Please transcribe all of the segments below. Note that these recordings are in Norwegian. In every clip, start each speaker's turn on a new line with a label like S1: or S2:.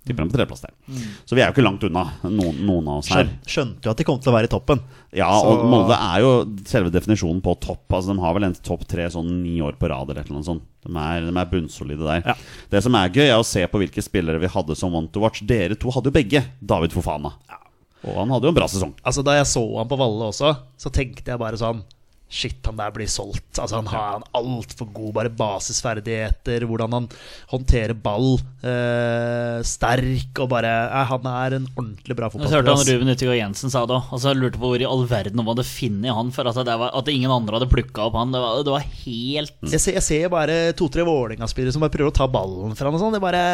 S1: Tipper dem på tredjeplass der.
S2: Mm.
S1: Så vi er jo ikke langt unna, noen, noen av oss her.
S2: Skjøn, skjønte jo at de kom til å være i toppen.
S1: Ja, og
S2: Så-
S1: Molde er jo selve definisjonen på topp. Altså, De har vel endt topp tre sånn ni år på rad eller et eller annet sånt. De er, de er bunnsolide der.
S2: Ja.
S1: Det som er gøy, er å se på hvilke spillere vi hadde som one to watch. Dere to hadde jo begge David Fofana. Og han hadde jo en bra sesong.
S2: Altså Da jeg så han på Valle også, så tenkte jeg bare sånn Shit, han der blir solgt. Altså Han har han altfor god bare basisferdigheter. Hvordan han håndterer ball. Eh, sterk og bare eh, Han er en ordentlig bra
S3: Jeg hørte han
S2: fotballspiller. ass.
S3: Ruben Utegård Jensen sa det òg. Og så lurte jeg på hvor i all verden man hadde funnet han. For at, det var, at ingen andre hadde plukka opp han. Det var, det var helt
S2: Jeg ser, jeg ser bare to-tre Vålerenga-spillere som bare prøver å ta ballen fra han. Og sånn. det er bare,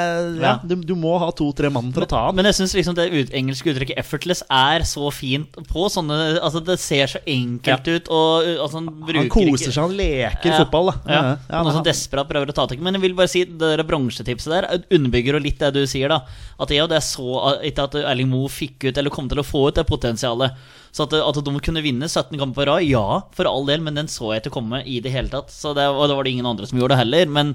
S2: ja,
S3: Ja.
S2: du, du må ha to-tre mann for å ta han.
S3: Men jeg syns liksom det ut, engelske uttrykket 'effortless' er så fint på sånne Altså, det ser så enkelt ut, og uh, altså, han bruker
S2: Han koser
S3: ikke-
S2: seg, han leker
S3: Ja,
S2: fotball. Da.
S3: Ja. sånn
S2: Ja, ja,
S3: Noen
S2: han-
S3: som desperat prøver å ta tak i Men jeg vil bare si det der bronsetipset der underbygger jo litt det du sier. da At jeg og det så ikke at Erling Moe fikk ut, eller kom til å få ut, det potensialet. Så at, at de kunne vinne 17 kamper på rad, ja, for all del, men den så jeg ikke komme i det hele tatt. Så det, og det var det ingen andre som gjorde heller. Men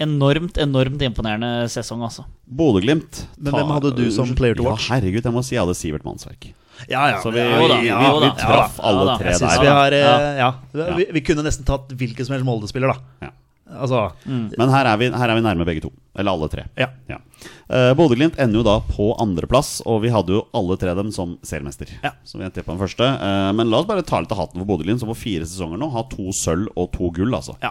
S3: enormt, enormt imponerende sesong, altså.
S1: Bodø-Glimt
S2: Men
S1: ta-
S2: hvem hadde du som player to watch?
S1: Ja, herregud, jeg må si jeg hadde Sivert Mannsverk.
S2: ja, ja,
S1: Så vi,
S3: Jo da,
S1: vi,
S3: jo
S1: vi, vi
S3: da,
S1: traff
S3: ja da,
S1: alle
S3: ja da.
S1: tre
S3: Jeg
S2: Jeg synes
S1: der.
S2: vi
S1: da.
S2: har eh,
S3: Ja.
S2: Ja. Vi, vi kunne nesten tatt hvilken som helst Molde-spiller, da.
S1: Ja.
S2: Altså
S1: Men her er, vi, her er vi nærme begge to. Eller alle tre.
S2: Ja.
S1: Eh, Bodø-Glimt ender jo da på andreplass, og vi hadde jo alle tre dem som seriemester.
S2: Ja.
S1: Så vi tippet den første. Eh, men la oss bare ta litt av hatten for Bodø-Glimt, som på fire sesonger nå har to sølv og to gull. altså
S2: Ja.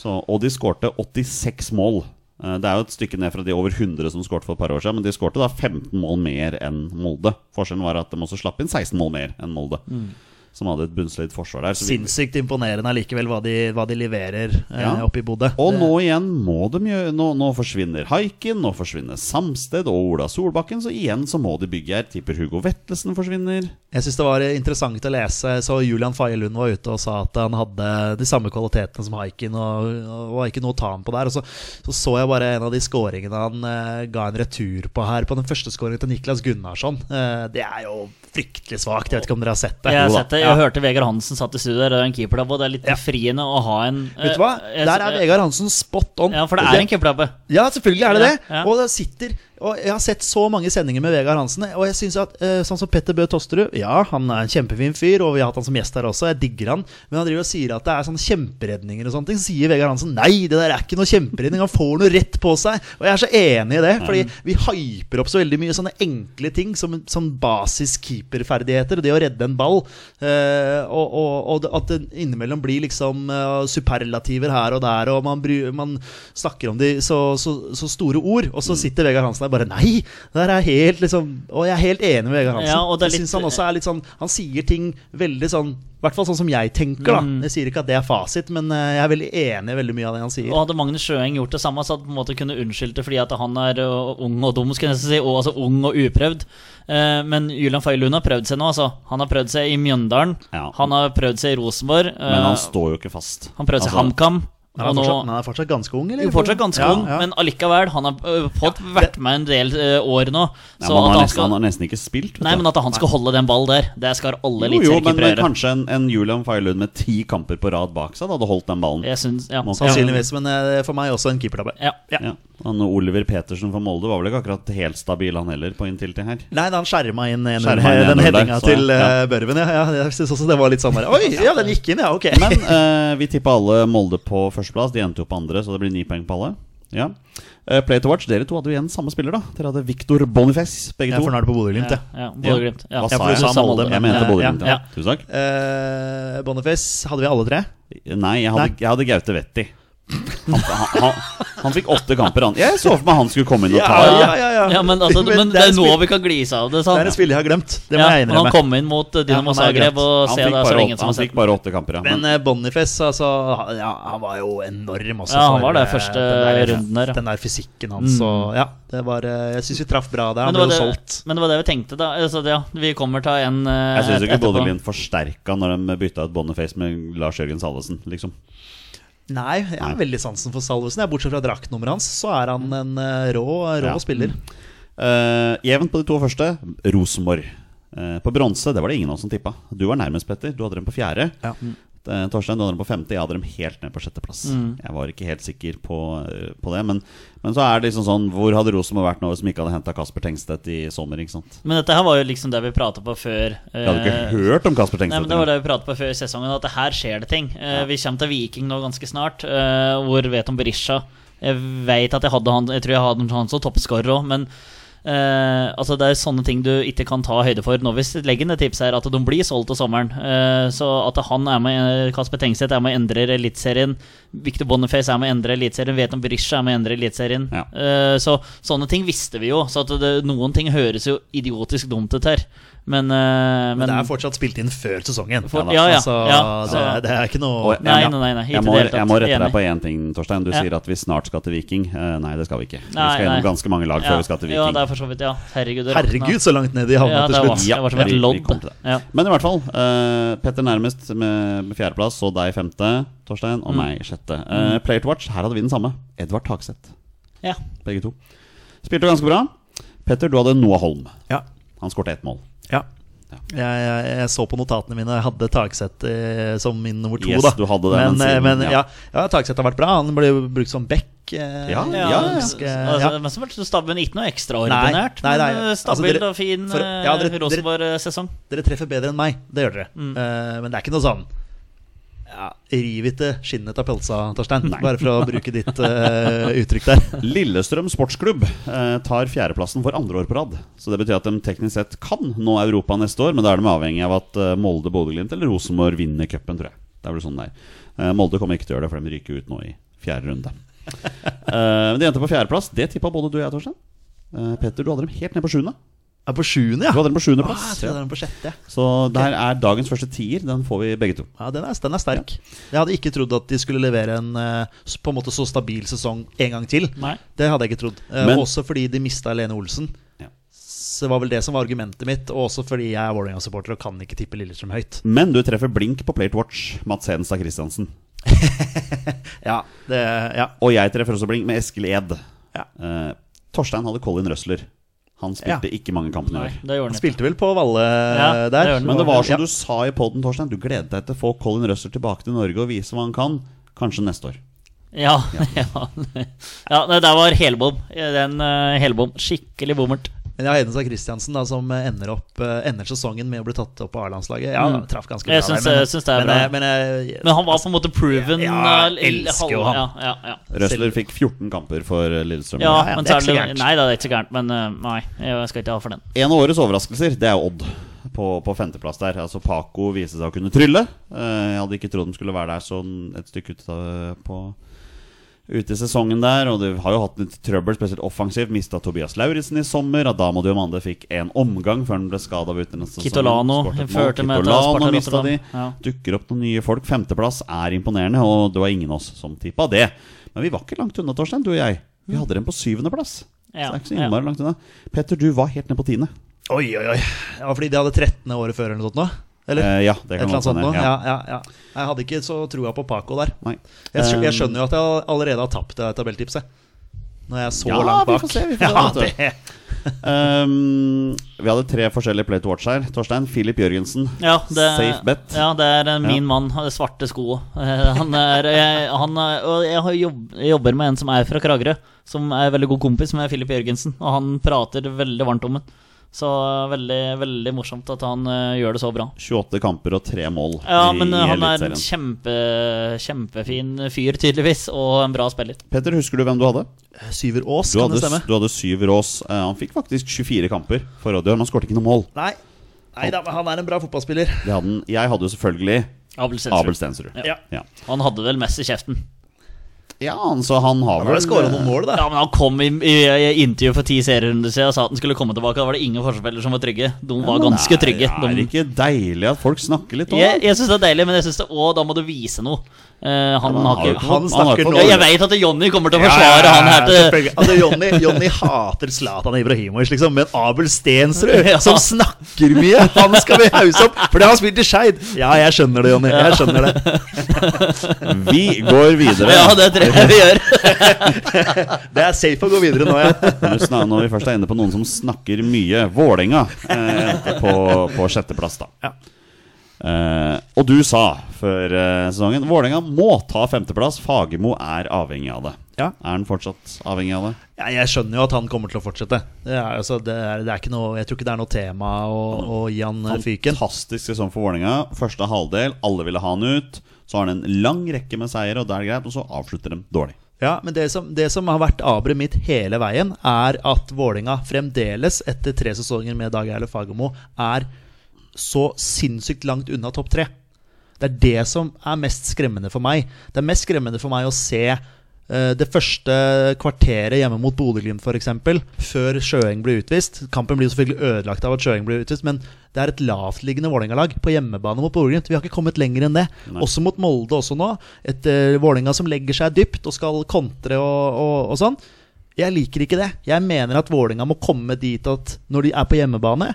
S1: så, Og de skårte 86 mål. Eh, Det er jo et stykke ned fra de over 100 som skårte for et par år siden, men de skårte da 15 mål mer enn Molde. Forskjellen var at de også slapp inn 16 mål mer enn Molde,
S2: Mm.
S1: som hadde et bunnsolid forsvar der. så vi-
S2: Sinnssykt imponerende allikevel hva de, hva de leverer
S1: Ja.
S2: eh, oppe i Bodø.
S1: Og nå igjen må de gjøre Nå, nå forsvinner Haiken, nå forsvinner Samsted og Ola Solbakken, så igjen så må de bygge her. Tipper Hugo Vettelsen forsvinner.
S2: Jeg syns det var interessant å lese. Jeg Så Julian Faye Lund var ute og sa at han hadde de samme kvalitetene som Haikin, og, og var ikke noe å ta ham på der. Og så, så så jeg bare en av de scoringene han eh, ga en retur på her, på den første scoringen til Niklas Gunnarsson. Eh, det er jo fryktelig svakt. Jeg vet ikke om dere har sett det.
S3: Jeg har
S1: Jo da.
S3: sett det, jeg hørte Vegard Hansen satt i studio der, og det er en keepertabbe, og det er litt befriende å ha en
S2: Vet du hva?
S3: eh,
S2: Der er
S3: eh,
S2: Vegard Hansen spot on.
S3: Ja, for det er en keepertabbe.
S2: Ja, selvfølgelig er det
S3: Ja,
S2: det.
S3: ja.
S2: Og det sitter og Jeg har sett så mange sendinger med Vegard Hansen, og jeg synes at eh, sånn som Petter Bøe Tosterud Ja, han er en kjempefin fyr, og vi har hatt han som gjest her også. Jeg digger han. Men han driver og sier at det er sånne kjemperedninger og sånne ting. Så sier Vegard Hansen nei, det der er ikke noe kjemperedning. Han får noe rett på seg. Og jeg er så enig i det, fordi vi hyper opp så veldig mye sånne enkle ting som, som basis keeperferdigheter, det å redde en ball, eh, og, og, og at det innimellom blir liksom eh,
S3: Mm.
S2: superlativer her og der, og man, bry, man snakker om de så, så, så store ord, og så sitter Vegard Hansen Hansen er bare Nei! det Der er helt liksom Og jeg er helt enig med Vegard Hansen.
S3: Ja, og det er
S2: jeg
S3: litt-
S2: synes han også er litt sånn Han sier ting veldig sånn I hvert fall sånn som jeg tenker, da.
S3: Mm.
S2: Jeg sier ikke at det er fasit, men eh, jeg er veldig enig i veldig mye av det han sier.
S3: Og hadde Magnus Sjøeng gjort det samme, så hadde han på en måte kunne unnskyldt det fordi at han er ø, ung og dum, skulle jeg nesten si. Og altså ung og uprøvd. Eh, men Julian Faylund har prøvd seg nå, altså. Han har prøvd seg i Mjøndalen.
S1: Ja.
S3: Han har prøvd seg i Rosenborg. eh,
S1: Men han står jo ikke fast. Altså,
S3: han prøvde seg i HamKam.
S2: Men han er
S3: og nå-
S2: fortsatt, men han er fortsatt ganske ung, eller?
S3: jo, fortsatt ganske
S2: Ja,
S3: ung,
S2: ja.
S3: men allikevel. Han har ø, fått vært med en del ø, år nå.
S1: Ja, men
S3: Så
S1: han,
S3: at
S1: har
S3: han
S1: nesten, han
S3: skal
S1: har nesten ikke spilt. vet
S3: Nei,
S1: du.
S3: men at han skal holde den ball der, det skal alle
S1: jo, jo, men,
S3: eliteseriekeepere
S1: men
S3: gjøre.
S1: kanskje en, en Julian Faylund med ti kamper på rad bak seg da, hadde holdt den ballen.
S3: Jeg synes, ja.
S1: Må-
S2: Sannsynligvis, men eh, for meg også en keepertabbe.
S3: Ja. ja.
S1: Ja. Han Oliver Petersen fra Molde var vel ikke akkurat helt stabil, han heller, på inntil-til her.
S2: Nei, da han skjerma inn en,
S1: Skjerma inn
S2: den
S1: en der,
S2: headinga
S1: så ja.
S2: til eh, Børven. Ja, ja, jeg synes også det var litt sånn der Oi, ja, den gikk inn, ja, ok.
S1: Men eh, vi tippa alle Molde på førsteplass. De endte jo på andre, så det blir ni poeng på alle. Ja. Eh, Play to watch, dere to hadde jo igjen samme spiller, da. Dere hadde Victor Boniface, begge
S2: jeg
S1: to.
S2: får nærme på Bodø-Glimt,
S3: ja.
S2: jeg.
S3: Bodø-Glimt. Ja.
S1: Hva
S2: Ja,
S1: sa
S2: for
S1: jeg?
S2: du sa Molde,
S1: jeg mente
S3: ja,
S1: Bodø-Glimt, ja.
S3: ja.
S1: Tusen takk.
S2: Eh, Boniface hadde vi alle tre.
S1: Nei, jeg hadde,
S2: Nei.
S1: jeg hadde Gaute Vetti. Han, han, han, han fikk åtte kamper, han. Jeg så for meg han skulle komme inn og ta
S2: Ja, ja, ja.
S3: men, altså,
S2: Men
S3: men
S2: det
S3: det
S2: er
S3: er nå
S2: spill-
S3: vi kan glise av det.
S2: Det
S3: Sant?
S2: er et spill jeg har glemt. Det må
S3: ja,
S2: jeg
S3: men han
S2: innrømme.
S3: kom inn mot eh, Dynamo
S2: Ja, han er
S3: Zagreb
S2: greit.
S3: og
S1: Han fikk,
S3: se det er så
S1: bare
S3: lenge
S1: åtte,
S3: som har
S1: han
S3: sett
S1: fikk bare åtte kamper, ja.
S2: Men eh, Boniface, altså han- ja, Han var jo enorm også.
S3: Ja, han
S2: for,
S3: var det
S2: eh,
S3: første
S2: den der-
S3: runden der, ja. Mm.
S2: Den der fysikken hans og Ja, det var eh, Jeg syns vi traff bra der. Han
S3: men
S2: ble
S3: det, var
S2: jo
S3: det,
S2: solgt.
S3: men det var det vi tenkte, da. Altså, det, ja, vi kommer til en uh,
S1: Jeg syns ikke Bodø-Glimt forsterka når de bytta ut Boniface med Lars Jørgen Salvesen, liksom.
S2: Nei, jeg har veldig sansen for Salvesen. Jeg, bortsett fra draktnummeret hans, så er han en eh, rå, rå
S1: Ja.
S2: spiller.
S1: Eh, jevnt på de to første. Rosenborg. Eh, på bronse det var det ingen av oss som tippa. Du var nærmest, Petter. Du hadde dem på fjerde.
S2: Ja.
S1: Eh, Torstein, du hadde dem på femte. Jeg hadde dem helt ned på sjetteplass.
S3: Mm.
S1: Jeg var ikke helt sikker på, eh, på det. Men, men så er det liksom sånn Hvor hadde Rosenborg vært nå hvis de ikke hadde henta Kasper Tengstedt i sommer? ikke sant?
S3: Men dette her var jo liksom det vi prata på før.
S1: Jeg hadde
S3: eh,
S1: ikke hørt om Kasper
S3: Nei,
S1: Tengstedt.
S3: men Det var det vi pratet på før i sesongen, at det her skjer det ting. Eh, Vi kommer til Viking nå ganske snart, eh, hvor vet om Berisha. Jeg vet at jeg hadde han Jeg tror jeg hadde han som toppskårer òg, men eh, altså det er sånne ting du ikke kan ta høyde for. Nå hvis vi legger inn et tips her, at de blir solgt til sommeren. Eh, så at han er med, Kasper Tengseth er med og endrer Eliteserien. Victor Boniface er med og endrer Eliteserien. Vet om Berisha er med og endrer Eliteserien.
S1: Ja.
S3: Eh, så sånne ting visste vi jo. Så at det, noen ting høres jo idiotisk dumt ut her. Men, eh,
S2: Men det er fortsatt spilt inn før sesongen.
S3: For- ja, ja,
S2: altså,
S3: ja,
S2: det,
S3: så-
S2: det er ikke noe
S1: Og-
S3: Nei, nei, nei, nei,
S1: jeg
S3: ikke
S1: må,
S3: i det hele tatt.
S1: jeg må rette
S3: Enig.
S1: deg på én ting, Torstein. Du
S3: Ja.
S1: sier at vi snart skal til Viking. Eh, nei, det skal vi ikke. vi
S3: Nei,
S1: skal gjennom
S3: nei.
S1: ganske mange lag
S3: ja.
S1: før vi skal til Viking.
S3: Ja, det er for så vidt, ja. Herregud, det
S2: Herregud,
S3: råtna.
S2: så langt ned de havna
S3: Ja, det
S2: til
S3: var,
S2: slutt.
S3: det var som et
S1: vi- vi
S3: lodd.
S1: kom til det.
S3: Ja.
S1: Men i hvert fall, eh, Petter nærmest med, med fjerdeplass, så deg femte, Torstein, og meg sjette. Eh, player to watch, her hadde vi den samme. Mm. Edvard Takseth,
S3: Ja.
S1: begge to. Spilte ganske bra. Petter, du hadde Noah Holm.
S2: Ja,
S1: Han skårte ett mål.
S2: ja.
S1: Ja.
S2: Jeg, jeg, jeg så på notatene mine. Jeg hadde Tagseth eh, som min nummer to.
S1: Yes,
S2: da.
S1: du hadde det,
S2: men
S1: men
S2: eh,
S1: siden-
S2: men ja.
S1: ja.
S2: Ja, Tagseth har vært bra. Han ble jo brukt som back. eh,
S1: Ja,
S3: Ja,
S1: ja.
S3: altså,
S2: ganske- ja.
S3: Men så var det stabben ikke noe ekstraordinært.
S2: Nei, nei, nei,
S3: men eh,
S2: altså,
S3: stabil
S2: dere-
S3: og fin
S2: for- ja, dere-
S3: eh, Rosenborg-sesong.
S2: Dere treffer bedre enn meg. Det gjør dere.
S3: Mm.
S2: Eh, men det er ikke noe sånn ja, Riv ikke skinnet av pølsa, Torstein. Bare for å bruke ditt eh, uttrykk der.
S1: Lillestrøm sportsklubb eh, tar fjerdeplassen for andre år på rad. Så det betyr at de teknisk sett kan nå Europa neste år, men da er de avhengig av at eh, Molde, Bodø-Glimt eller Rosenborg vinner cupen, tror jeg. Det er vel sånn det er. Eh, Molde kommer ikke til å gjøre det, for de ryker ut nå i fjerde runde. Eh, men de endte på fjerdeplass. Det tippa både du og jeg, Torstein. Eh, Petter, du hadde dem helt ned på sjuende.
S2: Er på sjuende, ja.
S1: Du hadde dem på
S2: Ah, jeg
S1: sjuendeplass.
S2: tror det er den på sjette. ja.
S1: Så der er dagens første tier. Den får vi begge to.
S2: Ja, den er, den er sterk. Jeg hadde ikke trodd at de skulle levere en eh, s- på en måte så stabil sesong en gang til.
S3: Nei.
S2: Det hadde jeg ikke trodd. Eh,
S1: Men-
S2: også fordi de mista Lene Olsen.
S1: Ja.
S2: Så det var vel det som var argumentet mitt. Og også fordi jeg er Vålerenga-supporter og kan ikke tippe Lillestrøm høyt.
S1: Men du treffer blink på Plate Watch, Mats Hedenstad Christiansen.
S2: Ja, det, ja.
S1: Og jeg treffer også blink med Eskil Ed.
S2: Ja.
S1: Eh, Torstein hadde Colin Røsler. Han spilte ikke mange kampene i
S3: Nei,
S1: år.
S3: det gjorde
S2: Han
S3: han ikke.
S2: spilte vel på Valle eh,
S3: Ja, det
S2: der.
S3: gjør han.
S1: Men det var som
S2: Ja.
S1: du sa i poden, Torstein. Du gledet deg til å få Colin Røsler tilbake til Norge og vise hva han kan. Kanskje neste år.
S3: Ja, ja. ja det der var helbom. Den eh, helbom. Skikkelig bommert.
S2: Men ja, Hedenstad Christiansen, da, som ender, opp, eh, ender sesongen med å bli tatt opp på A-landslaget. Ja,
S3: Mm.
S2: traff ganske bra
S3: Jeg syns-
S2: der.
S3: jeg syns det
S2: men,
S3: er bra.
S2: eh, Men, eh,
S3: Men han var på en måte proven.
S2: Ja, jeg
S3: eh, l-
S2: elsker jo
S3: halv-
S2: han.
S3: Ja, ja, ja.
S1: Røsler
S2: Selv-
S1: fikk 14 kamper for Lillestrøm.
S3: Ja,
S2: ja,
S3: men
S2: det er ikke
S3: så
S2: så
S3: er det
S2: gærent.
S3: Nei da, det er ikke så gærent, men eh, nei, jeg skal ikke ha for den.
S1: En av årets overraskelser, det er jo Odd på, på femteplass der. Altså Paco viste seg å kunne trylle. Eh, Jeg hadde ikke trodd de skulle være der sånn et stykke ut av, på ute i sesongen der, og det har jo hatt litt trøbbel, spesielt offensivt. Mista Tobias Lauritzen i sommer. Adama Diomande fikk en omgang før han ble skada av utenlandssesongen.
S3: Kitolano førte med til
S1: Kitolano
S3: Sparta
S1: mista de.
S3: Rotterdam. Ja.
S1: Dukker opp noen nye folk. Femteplass er imponerende, og det var ingen av oss som tippa det. Men vi var ikke langt unna, Torstein, du og jeg. Vi hadde dem på syvendeplass. Så det
S3: Ja,
S1: er ikke så
S3: ja.
S1: innmari langt unna. Petter, du var helt ned på tiende.
S2: Oi, oi, oi. Ja, fordi de hadde 13. året før eller noe sånt nå? Eller?
S1: Eh, ja, det
S2: Et
S1: kan
S2: eller
S1: godt
S2: annet sånt
S1: hende,
S2: nå? Ja. Ja, ja, Jeg hadde ikke så trua på Paco der.
S1: Nei.
S2: Jeg, skjø-
S1: Eh,
S2: jeg skjønner jo at jeg allerede har tapt det tabelltipset. Når jeg er så
S1: Ja,
S2: langt
S1: vi
S2: bak.
S1: får se, vi får se, vet du.
S2: ja, det.
S1: Um, vi hadde tre forskjellige Play to Watch her. Torstein, Filip Jørgensen.
S3: Ja, det,
S1: Safe bet.
S3: Ja, det er eh, min
S1: Ja.
S3: mann. han er Svarte sko. Eh, Han er, jeg, han er Og jeg har jobb, jeg jobber med en som er fra Kragerø, som er veldig god kompis med Filip Jørgensen, og han prater veldig varmt om den. Så eh, veldig, veldig morsomt at han eh, gjør det så bra.
S1: 28 kamper og tre mål
S3: Ja,
S1: i,
S3: men
S1: i
S3: eh, han er en
S1: Eliteserien.
S3: kjempe, kjempefin fyr, tydeligvis, og en bra spiller.
S1: Petter, husker du hvem du hadde?
S2: Syver Aas,
S1: Du
S2: kan
S1: hadde,
S2: det stemme?
S1: du hadde syv rås. Eh, han fikk faktisk 24 kamper for Odd i år, men han skåret ikke noe mål.
S2: Nei. Nei da, men han er en bra fotballspiller.
S1: Det hadde han. Jeg hadde jo selvfølgelig Abel
S3: Abel Stensrud.
S1: Stensrud.
S3: Ja.
S1: Ja.
S3: Han hadde vel mest i kjeften.
S1: ja, han- så han har
S2: Han har skåra noen mål, da.
S3: Ja, men Han kom i, i, i intervju for ti serierunder siden og sa at han skulle komme tilbake. Da var det ingen forspillere som var trygge. De var ganske trygge.
S1: Det er
S3: De,
S1: ikke deilig at folk snakker litt om
S3: jeg
S1: det?
S3: jeg syns det er deilig, men jeg synes det, å, da må du vise noe. Eh, han
S1: men
S3: har
S1: har jo
S3: ikke
S1: ikke-
S3: han,
S1: han
S2: Han
S1: har
S2: snakker
S1: fått-
S2: nå
S3: Jeg, jeg veit at Jonny kommer til å
S2: Ja,
S3: forsvare
S2: ja,
S3: han her til
S2: selvfølgelig. altså, Jonny, Jonny hater Zlatan Ibrahimovic, liksom, men Abel Stensrud,
S3: Ja.
S2: som snakker mye, han skal vi hause opp! Fordi han har spilt i Skeid! Ja, jeg skjønner det, Jonny. Jeg skjønner det.
S1: Vi går videre.
S3: Ja, det tror jeg vi gjør.
S2: Det er safe å gå videre nå, ja.
S1: Når vi snak- Når vi først er inne på noen som snakker mye. Vålerenga eh, endte på, på sjetteplass, da. Eh, og du sa før eh, sesongen Vålerenga må ta femteplass. Fagermo er avhengig av det.
S2: Ja.
S1: Er han fortsatt avhengig av det?
S2: Ja, jeg skjønner jo at han kommer til å fortsette. Det er, altså, det er, det er ikke noe, jeg tror ikke det er noe tema å, å gi han eh, fyken.
S1: Fantastisk sesong for Vålerenga. Første halvdel, alle ville ha han ut. Så har han en lang rekke med seire, og det er greit. Og så avslutter de dårlig.
S2: Ja, men det som, det som har vært aberet mitt hele veien, er at Vålinga fremdeles, etter tre sesonger med Dag Eilef Fagermo, er så sinnssykt langt unna topp tre. Det er det som er mest skremmende for meg. Det er mest skremmende for meg å se eh, det første kvarteret hjemme mot Bodø-Glimt, f.eks., før Sjøeng blir utvist. Kampen blir jo selvfølgelig ødelagt av at Sjøeng blir utvist, men det er et lavtliggende Vålerenga-lag på hjemmebane mot Bodø-Glimt. Vi har ikke kommet lenger enn det. Også mot Molde også nå. Et uh, Vålerenga som legger seg dypt og skal kontre og, og, og sånn. Jeg liker ikke det. Jeg mener at Vålinga må komme dit at når de er på hjemmebane,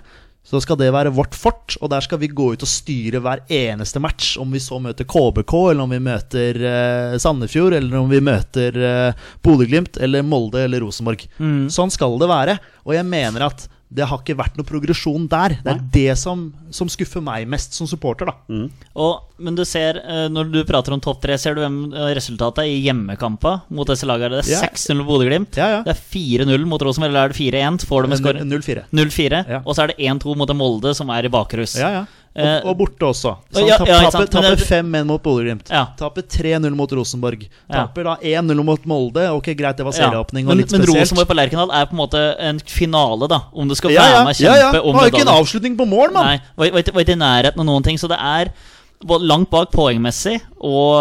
S2: så skal det være vårt fort, og der skal vi gå ut og styre hver eneste match. Om vi så møter KBK, eller om vi møter eh, Sandefjord, eller om vi møter eh, Bodø-Glimt, eller Molde eller Rosenborg. Sånn skal det være, og jeg mener at det har ikke vært noe progresjon der. Det er det som, som skuffer meg mest som supporter, da.
S3: Og, men du ser, eh, når du prater om topp tre, ser du hvem eh, resultatet er i hjemmekampa mot disse lagene. Det
S2: Ja.
S3: er 6-0 Bodø-Glimt.
S2: Ja, ja.
S3: Det er 4-0 mot Rosenborg, eller er det 4-1? Får de en scoring?
S2: 0-4.
S3: 0-4.
S2: Ja.
S3: Og så er det 1-2 mot Molde, som er i bakrus.
S2: Ja, ja.
S3: Eh,
S2: Og, og borte også. Så
S3: ja,
S2: han
S3: ja, ikke
S2: taper,
S3: sant, men
S2: taper
S3: det-
S2: 5-1 mot Bodø-Glimt.
S3: Ja.
S2: Taper 3-0 mot Rosenborg.
S3: Ja.
S2: Taper da 1-0 mot Molde. Ok, greit, det var
S3: Ja.
S2: serieåpning og
S3: Men,
S2: litt
S3: men
S2: spesielt.
S3: Rosenborg på Lerkendal er på en måte en finale, da. Om du skal
S2: ja,
S3: være
S2: ja,
S3: med og
S2: ja, ja.
S3: kjempe
S2: Det
S3: om
S2: var jo ikke en
S3: medaljen.
S2: avslutning på mål, mann!
S3: Nei, var, var, ikke, var ikke i nærheten av noen ting. Så det er både langt bak poengmessig og,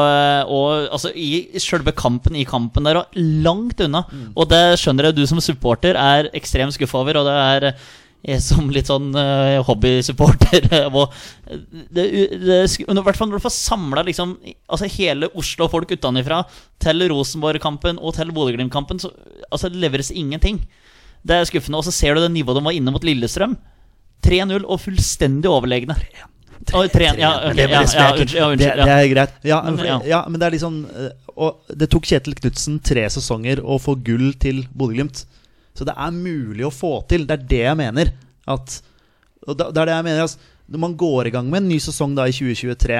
S3: og altså i sjølve kampen i kampen der, og langt unna. Og det skjønner jeg du som supporter er ekstremt skuffa over, og det er jeg som litt sånn eh, hobbysupporter og det, det, I hvert fall når du får samla liksom, altså hele Oslo og folk utenfra til Rosenborg-kampen og til Bodø-Glimt-kampen, så altså, det leveres ingenting. Det er skuffende. Og så ser du det nivået de var inne mot Lillestrøm. 3-0 og fullstendig overlegne. Oi, 3-1, ja,
S2: Det var
S3: ok, ja,
S2: det som
S3: ja,
S2: jeg
S3: unnskyld, ja,
S2: kunne-
S3: unnskyld,
S2: det, det
S3: ja.
S2: er greit. Ja,
S3: Men,
S2: for-
S3: ja.
S2: ja, men det er liksom eh, Og det tok Kjetil Knutsen tre sesonger å få gull til Bodø-Glimt. Så det er mulig å få til. Det er det jeg mener. At, og da- det er det jeg mener altså, Når man går i gang med en ny sesong da i 2023,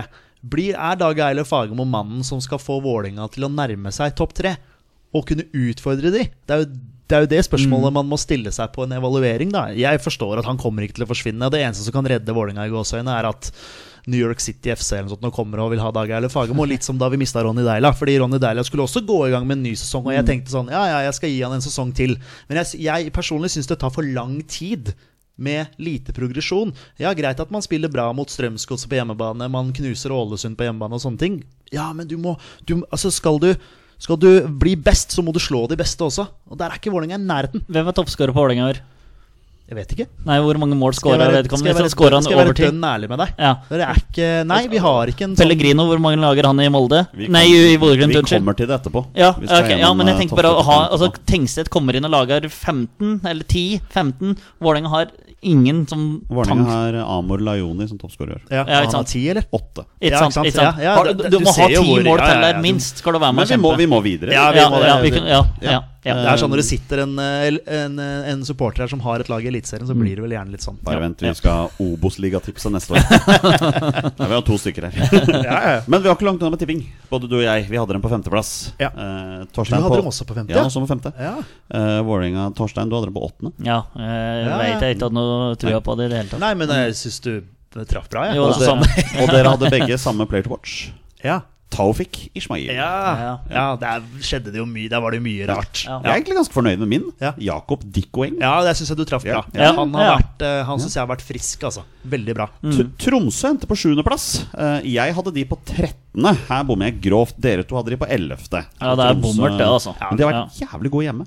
S2: blir, er Dag Eilef Fagermo mannen som skal få Vålinga til å nærme seg topp tre? Og kunne utfordre de? Det er jo det, er jo det spørsmålet man må stille seg på en evaluering. da Jeg forstår at han kommer ikke til å forsvinne. Og Det eneste som kan redde Vålinga i gåseøynene, er at New York City FC eller noe sånt nå kommer og vil ha Dag Eilef Fagermo. Litt som da vi mista Ronny Deila. Fordi Ronny Deila skulle også gå i gang med en ny sesong. Og jeg tenkte sånn Ja, ja, jeg skal gi han en sesong til. Men jeg, jeg personlig syns det tar for lang tid. Med lite progresjon. Ja, greit at man spiller bra mot Strømsgodset på hjemmebane, man knuser Ålesund på hjemmebane og sånne ting. Ja, men du må du, Altså, skal du Skal du bli best, så må du slå de beste også. Og der er ikke Vålerenga i nærheten.
S3: Hvem var toppskårer på Vålerenga i år?
S2: Jeg vet ikke.
S3: Nei, hvor mange mål
S2: Skal jeg
S3: skåra
S2: være- skal jeg
S3: vedkommende?
S2: være-
S3: Skåra han
S2: skal jeg være
S3: overtid?
S2: dønn ærlig med deg?
S3: Ja.
S2: Det er ikke Nei, vi har ikke en sånn
S3: Pellegrino, hvor mange lager han i Molde?
S1: Vi
S3: Nei, i Bodø-Glimt,
S1: Vi
S3: unnskyld.
S1: kommer til det etterpå.
S3: Ja,
S1: Vi skal
S3: ok, ja,
S1: gjennom,
S3: men jeg
S1: eh,
S3: tenker bare å
S1: topp
S3: ha
S1: 15
S3: altså,
S1: etterpå.
S3: Tengstedt kommer inn og lager 15, eller 10, 15. Vålerenga har ingen som
S1: Vålerenga
S3: tank.
S1: har Amor Lajoni som toppskårer i år.
S2: Ja,
S3: ikke
S2: han har
S3: sant.
S2: ti, eller?
S1: Åtte.
S3: Ikke
S2: Ja, ikke
S3: sant?
S2: sant?
S3: Ikke sant?
S2: Ja, ja,
S3: Har-
S2: det-
S3: du,
S2: du
S3: må ha
S2: ser jo
S3: ti
S2: hvor-
S3: mål
S2: ja, ja,
S3: til
S2: ja,
S3: der,
S2: du-
S3: minst, skal du være med
S1: Men
S3: og
S1: vi må,
S3: kjempe.
S1: vi må videre.
S2: Ja, vi
S3: ja,
S2: må det.
S3: ja, vi kan, ja, ja, ja.
S2: Det er sånn når det sitter en, eh, en, en supporter her som har et lag i Eliteserien,
S3: Mm.
S2: så blir det vel gjerne litt sånn.
S1: Bare vent, vi skal ha Obos-ligatipset neste år. Ja, vi har to stykker her. Men vi har ikke langt unna med tipping. Både du og jeg. Vi hadde dem på femteplass.
S2: Ja.
S1: Eh,
S2: Du
S1: Torstein
S2: hadde
S1: på
S2: dem også på femte?
S3: altså.
S1: Ja, også på femte.
S2: ja.
S1: Eh, Vålerenga Torstein, du hadde dem på åttende.
S3: Ja, jeg
S2: Ja,
S3: vet jeg ikke hadde noe trua
S1: Nei.
S3: på det i det hele tatt.
S2: Nei, men jeg syns du traff bra, jeg.
S3: Jo,
S2: Og
S3: det
S2: det-
S3: samme.
S1: Og dere hadde begge samme player to watch.
S2: ja.
S1: Taufik Ismail.
S2: Ja,
S3: Ja.
S2: ja der skjedde det jo mye. Der var det jo mye rart.
S3: Ja.
S1: Jeg er egentlig ganske fornøyd med min.
S2: Ja.
S1: Jakob Dikkoeng.
S2: Ja, det syns jeg du traff bra.
S3: Ja.
S2: Han, har
S3: Ja.
S2: vært, eh, han syns jeg har vært frisk, altså. Veldig bra.
S1: T- Tromsø endte på sjuendeplass. Eh, jeg hadde de på trettende. Her bommer jeg grovt. Dere to hadde de på ellevte.
S3: Ja, det er bommert, det, altså.
S1: Men de har vært jævlig gode hjemme.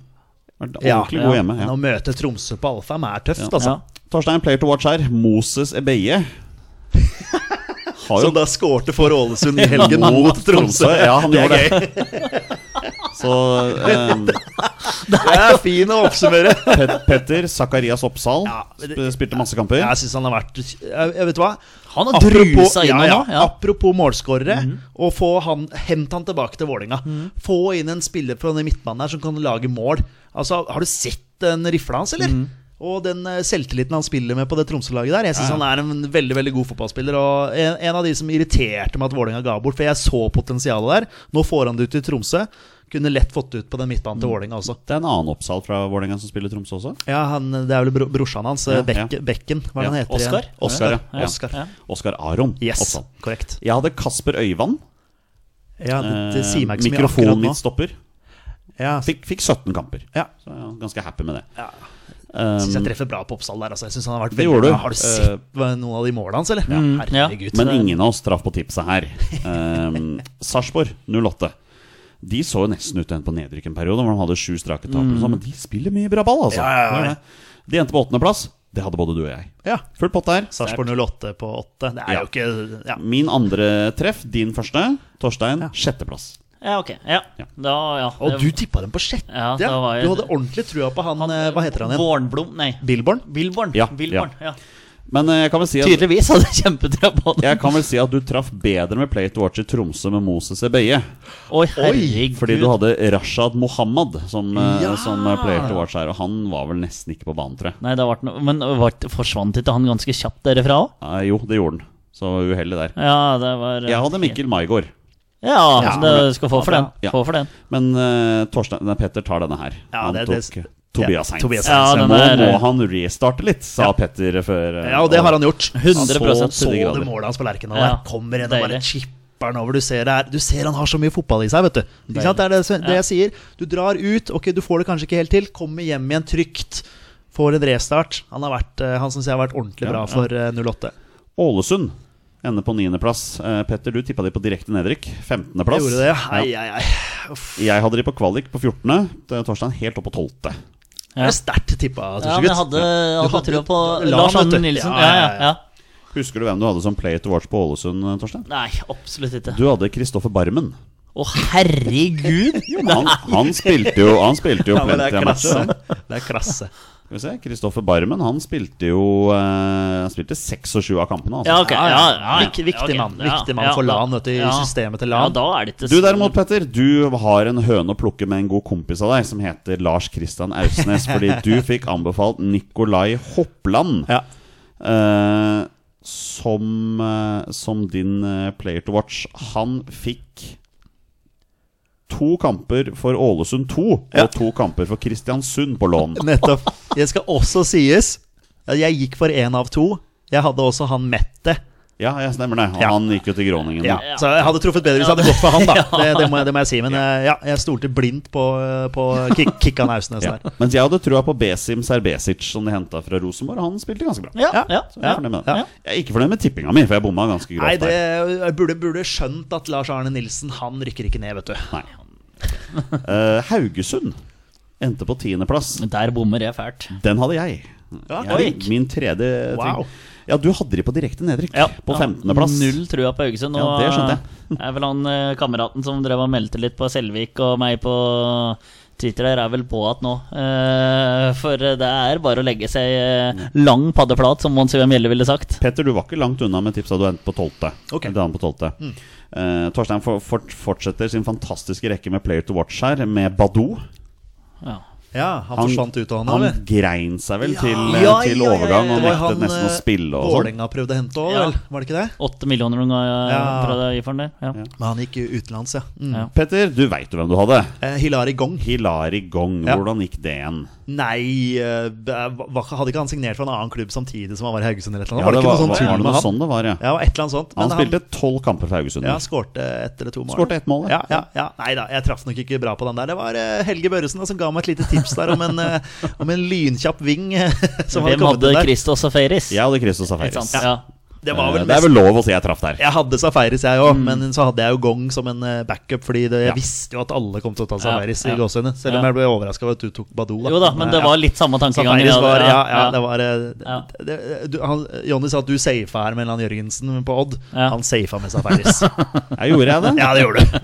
S1: Vært
S2: Ja,
S1: ordentlig
S3: ja.
S1: gode hjemme ja.
S2: Men å møte Tromsø på Alfheim er tøft,
S3: Ja.
S2: altså.
S1: Torstein, player to watch her. Moses Ebeye. Har
S2: Som
S1: jo
S2: da skårte for Ålesund i helgen mot Tromsø.
S1: Ja, han
S2: det
S1: gjorde
S2: er
S1: det.
S2: gøy.
S1: Så eh,
S2: Det er fin å oppsummere.
S1: Pet- Petter Zakarias Oppsal
S2: Ja, men det-
S1: sp- spilte masse kamper.
S2: Jeg syns han har vært jeg, jeg Vet du hva?
S3: Han har drusa inn
S2: ja,
S3: nå,
S2: ja,
S3: ja.
S2: apropos målskårere, og få han, hent han tilbake til Vålerenga. Få inn en spiller på den midtbanen her som kan lage mål. Altså, Har du sett den rifla hans, eller? Og den eh, selvtilliten han spiller med på det Tromsø-laget der. Jeg syns han er en veldig veldig god fotballspiller, og en, en av de som irriterte meg at Vålerenga ga bort, for jeg så potensialet der. Nå får han det ut i Tromsø. Kunne lett fått det ut på den midtbanen til Vålerenga også.
S1: Det er en annen Oppsal fra Vålerenga som spiller i Tromsø også.
S2: Ja, han, Det er vel bro, brorsan hans, eh,
S1: Ja,
S2: Bekke-
S1: ja.
S2: Bekken, hva er det
S1: Ja,
S2: han heter
S3: Oscar?
S2: igjen?
S1: Oskar, ja.
S2: ja. Oscar.
S3: Ja.
S1: Oskar Aron
S2: Yes,
S1: Oppsal.
S2: korrekt.
S1: Jeg hadde Kasper Øyvand.
S2: Ja, det, det
S1: eh,
S2: sier meg ikke så mye akkurat
S1: mikrofonen
S2: nå.
S1: min stopper.
S2: Ja,
S1: Fikk, fikk 17 kamper.
S2: ja.
S1: Så jeg er ganske happy med det.
S2: Ja.
S1: Um,
S2: Syns jeg treffer bra på Oppsal der. Altså. Jeg synes han Har vært
S1: Det gjorde du.
S2: veldig
S1: Eh, mm,
S2: bra. Har du sett hva- noen av de målene hans, eller?
S3: ja.
S2: Herregud.
S1: men ingen av oss traff på tipset her. Um, Sarpsborg 08. De så jo nesten ut til å ende på nedrykk en periode, hvor de hadde sju strake tap. og sånn, Men de spiller mye bra ball, altså.
S2: Ja, ja, ja.
S1: Det er det. De endte på åttendeplass. Det hadde både du og jeg.
S2: Ja.
S1: Full pott der.
S2: Sarpsborg 08 på 8. Det er
S1: Ja.
S2: jo ikke ja.
S1: Min andre treff, din første. Torstein, sjetteplass.
S3: ja, ok. Ja.
S1: Ja.
S3: Da, ja.
S2: Og du tippa dem på sjette!
S3: Ja, da var jeg-
S2: Du hadde ordentlig trua på han, eh, Hva heter han igjen?
S3: Vårnblom, nei.
S2: Billborn?
S3: Billborn.
S1: Ja,
S3: Billborn. Ja.
S1: Men eh, jeg kan vel si at
S3: Tydeligvis hadde jeg kjempetrua på det.
S1: jeg kan vel si at du traff bedre med Play to Watch i Tromsø med Moses Ebeye.
S3: Oi, herregud.
S1: Fordi du hadde Rashad Mohammed som, eh,
S2: Ja!
S1: som eh, player to watch her. Og han var vel nesten ikke på banen, tror jeg.
S3: Nei, da var det noe Men var det, forsvant ikke han ganske kjapt derifra òg?
S1: Nei, jo, det gjorde han. Så uheldig der.
S3: Ja, det var eh,
S1: Jeg hadde Mikkel Maigård.
S3: Ja, det skal få for den.
S1: Ja.
S3: Få for den.
S1: Men eh, Torstein, nei, Petter tar denne her.
S2: Ja,
S1: han
S2: det-
S1: tok
S2: det-
S1: Tobias
S2: Ja,
S1: Heinz.
S2: Tobias
S3: Ja,
S1: Så
S3: den
S1: må,
S3: er-
S1: må han restarte litt, sa Petter før. eh,
S2: Ja, og det har han gjort.
S3: 100%
S2: Så, så
S1: til de grader.
S2: det målet hans på Lerkendal.
S3: Ja.
S2: der. Kommer en og bare
S3: Deilig.
S2: chipper den over. Du ser, det er, du ser han har så mye fotball i seg, vet du. Ikke sant? Det er det, som- det jeg sier. Du drar ut, ok, du får det kanskje ikke helt til. Kommer hjem igjen trygt. Får en restart. Han, har vært, eh, han syns jeg har vært ordentlig bra for eh, 08.
S1: Ålesund ender på niendeplass. Eh, Petter, du tippa de på direkte nedrykk.
S2: Jeg
S1: Femtendeplass.
S2: gjorde det, ja. Ai, ai, ai. Uff.
S1: Jeg hadde de på kvalik på 14. Det er Torstein helt opp på 12.
S3: Ja.
S2: Det er sterkt tippa,
S3: Ja, men jeg
S2: Torsegutt.
S3: hadde, hadde
S2: hadde-
S3: trua på
S2: du la
S3: Lars
S2: han, vet
S3: Anne
S2: du.
S3: Nilsen.
S2: Ja,
S3: Ja, ja,
S2: ja,
S3: ja.
S1: Husker du hvem du hadde som play to watch på Ålesund, eh, Torstein?
S3: Nei, absolutt ikke.
S1: Du hadde Kristoffer Barmen.
S3: Å, herregud!
S1: Han, han spilte jo Han spilte jo
S2: Ja, men det er
S1: plenty av matcher.
S2: klasse. Det er klasse.
S1: Skal vi se, Kristoffer Barmen han spilte jo eh, Han spilte seks og sju av kampene. Altså.
S3: Ja, ok. Ja, ja, ja.
S2: Vik- Viktig
S3: Ok,
S2: mann.
S3: ja,
S2: Viktig mann
S3: ja,
S2: for
S3: da-
S2: LAN, vet du, i
S3: ja.
S2: systemet til
S3: Ja,
S2: LAN.
S3: da er det ikke
S1: Du
S3: så-
S1: derimot, Petter, du har en høne å plukke med en god kompis av deg som heter Lars Kristian Ausnes, fordi du fikk anbefalt Nikolai Hoppland
S2: Ja.
S1: eh, som, eh, som din eh, player to watch. Han fikk to kamper for Ålesund 2
S2: Ja.
S1: og to kamper for Kristiansund på lån.
S2: Nettopp. Det skal også sies at jeg gikk for én av to. Jeg hadde også han Mette.
S1: Ja, jeg stemmer det. Og
S2: Ja.
S1: han gikk jo til Groningen.
S2: Ja,
S1: da.
S2: så jeg hadde truffet bedre hvis jeg hadde gått for han, da. Det, det, må, jeg, det må jeg si. Men eh, ja, jeg stolte blindt på, eh, på kick, Kikkan Ausnes
S1: Ja.
S2: der.
S1: Mens jeg hadde trua på Besim Serbesic, som de henta fra Rosenborg. og Han spilte ganske bra.
S3: Ja,
S2: Ja.
S3: ja.
S1: Så jeg er
S2: Ja,
S1: fornøyd med
S2: ja.
S1: det. Jeg er ikke fornøyd med tippinga mi, for jeg bomma ganske
S2: Nei,
S1: grovt
S2: det,
S1: der.
S2: jeg burde, burde skjønt at Lars Arne Nilsen Han rykker ikke ned, vet du.
S1: Nei. Eh, Haugesund endte på tiendeplass.
S3: Men Der bommer jeg fælt.
S1: Den hadde jeg.
S2: Ja,
S1: jeg
S3: oi.
S1: min tredje
S2: Wow.
S1: ting. Ja, du hadde de på direkte nedrykk. På 15.-plass.
S3: Null trua på Haugesund.
S1: Ja, det skjønte jeg.
S3: det er vel han eh, kameraten som drev og meldte litt på Selvik og meg på Twitter der, er vel på at nå. Eh, for det er bare å legge seg eh, lang paddeflat, som Mons Ivan Mjelle ville sagt.
S1: Petter, du var ikke langt unna med tipsa du endte på 12.
S2: Ok. Mm.
S1: Du endte på 12. Eh, Torstein for, for, fortsetter sin fantastiske rekke med player to watch her, med Badou.
S3: Ja.
S2: Ja, han, forsvant ut av han,
S1: han
S2: eller?
S1: grein seg vel til, eh,
S2: Ja,
S1: til
S2: ja, ja, ja,
S1: overgang og
S2: ja. Det var
S1: nektet
S2: han,
S1: nesten å
S2: eh,
S1: spille. Og sånn.
S2: Vålerenga prøvde å hente òg,
S3: Ja.
S2: vel? Var det ikke det?
S3: Åtte millioner eh, noen ganger
S2: Ja.
S3: fra deg for den der. Ja.
S2: Men han gikk utenlands, ja. Mm.
S3: Ja.
S1: Petter, du veit jo hvem du hadde.
S2: Eh, Hilari Gong.
S1: Hilari Gong.
S2: Ja.
S1: Hvordan gikk det igjen?
S2: Nei, eh, hva- hadde ikke han signert for en annen klubb samtidig som han var i Haugesund? Eller et eller annet?
S1: Ja,
S2: var det
S1: var,
S2: ikke noe sånn
S1: var
S2: tull
S1: det
S2: med
S1: noe
S2: han?
S1: sånn det var, ja.
S2: Ja, det var et eller annet sånt.
S1: Han
S2: men
S1: spilte tolv kamper for Haugesund.
S2: Ja, skårte ett eller to mål.
S1: Skårte ett mål,
S2: ja. Ja, ja, Nei da, jeg traff nok ikke bra på den der. Det var eh, Helge Børresen da, som ga meg et lite tips der om en, eh, om en lynkjapp ving eh, som hadde
S3: Hvem
S2: kommet
S3: hadde
S2: inn der.
S3: Christos og Feris?
S1: Jeg hadde Christos
S3: Ikke
S1: Safaris.
S3: sant? Ja.
S2: Det var vel
S1: Eh, det er
S2: mest
S1: vel lov å si jeg traff der.
S2: jeg hadde Safaris, jeg òg, men så hadde jeg jo Gong som en eh, backup. Fordi det, jeg visste jo at alle kom til å ta Safaris
S3: ja.
S2: i gåsene. Selv om
S3: Ja.
S2: jeg ble overraska over at du tok Badou.
S3: Jo da, men det var litt samme tankegang.
S2: Safaris var, ja, ja,
S3: ja.
S2: det var eh,
S3: Ja.
S2: det, du, han, Jonny sa at du safa her med Lan Jørgensen på Odd.
S3: Ja.
S2: Han safa med Safaris.
S1: Ja, gjorde jeg det?
S2: ja, det gjorde du.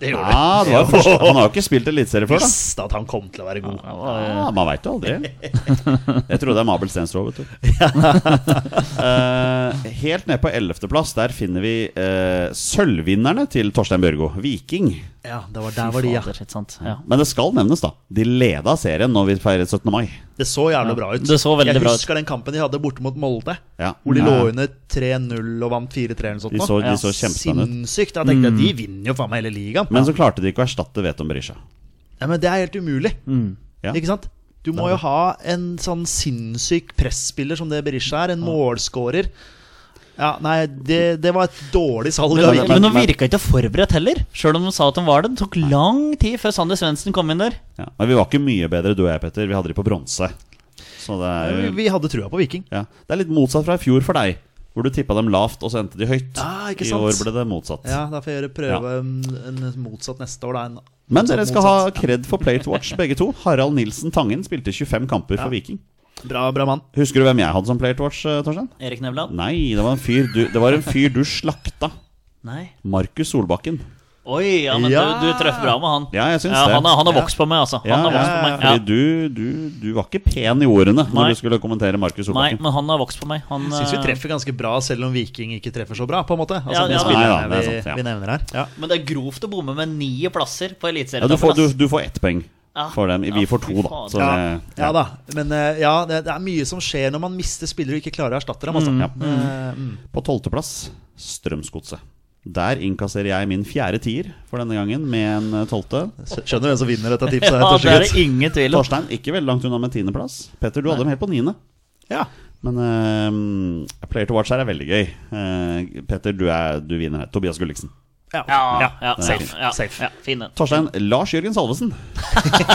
S2: Det gjorde
S1: Ja, det var jo første. Han har jo ikke spilt eliteserie
S2: du.
S1: før, da.
S2: Visste at han kom til å være god.
S1: Ja, Ah, man veit jo aldri. Jeg trodde det er Mabel Stensrud, vet du. Eh, helt ned på 11.-plass, der finner vi eh, sølvvinnerne til Torstein Bjørgo, Viking.
S2: Ja, det var der var de, ja.
S3: Fader, ikke sant? Ja.
S1: Men det skal nevnes, da. De leda serien når vi feiret 17. mai.
S2: Det så jævlig bra ut.
S3: Det så veldig
S2: jeg
S3: bra ut.
S2: husker den kampen de hadde borte mot Molde.
S1: Ja.
S2: Hvor de
S1: Ja.
S2: lå under 3-0 og vant 4-3 eller noe sånt.
S1: De
S2: nå.
S1: så, de
S3: Ja,
S1: så kjempespennende ut.
S2: Sinnssykt. Da tenkte jeg de vinner jo faen meg hele ligaen.
S1: Men så klarte de ikke å erstatte Veton Berisha.
S2: Ja, men det er helt umulig.
S1: Ja.
S2: Ikke sant? Du må jo ha en sånn sinnssyk presspiller som det Berisha er. En målskårer. Ja, nei, det, det var et dårlig salg. av
S3: Men,
S2: Viking.
S3: men de
S1: men-
S3: virka ikke forberedt heller, sjøl om de sa at de var det. Det tok lang tid før Sander Svendsen kom inn der.
S1: Ja. Men vi var ikke mye bedre, du og jeg, Petter. Vi hadde de på bronse. Så det er jo
S2: Vi- Vi hadde trua på Viking.
S1: Ja, Det er litt motsatt fra i fjor for deg, hvor du tippa dem lavt, og så endte de høyt.
S2: Ah, ikke
S1: I
S2: sant?
S1: år ble det motsatt.
S2: Ja, Da får jeg gjøre prøve
S1: Ja.
S2: en, en motsatt neste år, da. En
S1: Men
S2: motsatt,
S1: dere skal ha
S2: motsatt.
S1: kred for Plate Watch, begge to. Harald Nilsen Tangen spilte 25 kamper for Viking.
S2: Bra, bra mann.
S1: Husker du hvem jeg hadde som Plate Watch, eh, Torstein?
S3: Erik Nevland?
S1: Nei, det var en fyr du, det var en fyr du slakta.
S3: Nei.
S1: Markus Solbakken.
S3: Oi, ja, men
S2: Ja.
S3: du, du treffer bra med han.
S1: Ja, jeg syns det.
S3: han, har- han har vokst på meg, altså. Han
S1: Ja,
S3: har
S1: ja,
S3: vokst på
S1: ja,
S3: meg.
S1: fordi
S3: Ja.
S1: du, du, du var ikke pen i ordene når
S3: Nei.
S1: du skulle kommentere Markus
S3: Nei,
S1: Solbakken.
S3: men han har vokst på meg. Han,
S2: Syns vi
S3: eh,
S2: treffer ganske bra, selv om Viking ikke treffer så bra, på en måte. Altså,
S3: Ja,
S2: med
S3: ja,
S2: spillerne
S1: Nei, da, det er
S2: vi,
S1: sant, ja.
S2: vi nevner her. Ja.
S3: Men det er grovt å bomme med ni plasser på
S1: Ja, du, får,
S3: eliteserien.
S1: du, du får ett poeng
S3: Ja.
S1: for dem.
S3: Ja,
S1: Vi får
S3: fy
S1: to, da.
S3: faen.
S1: Så
S2: Ja.
S1: det,
S2: ja da. Men eh, ja, det, det er mye som skjer når man mister spillere og ikke klarer å erstatte dem. Altså.
S1: Ja.
S2: Eh, mm.
S1: På tolvteplass Strømsgodset. Der innkasserer jeg min fjerde tier for denne gangen med en eh, tolvte.
S2: Skj- Skjønner hvem som vinner dette tipset.
S3: Ja,
S2: her,
S3: det er
S2: til
S3: det
S2: slutt.
S3: ingen tvil om.
S1: Torstein ikke veldig langt unna med tiendeplass. Petter, du hadde dem helt på niende.
S2: Ja.
S1: Men eh, Player to watch her er veldig gøy. Eh, Petter, du, er, du vinner her. Tobias Gulliksen.
S2: Ja.
S3: Ja, ja, ja,
S1: det er
S3: safe.
S1: fint.
S3: Ja,
S2: Safe.
S3: ja, fin den.
S1: Torstein Eh, Lars Jørgen Salvesen.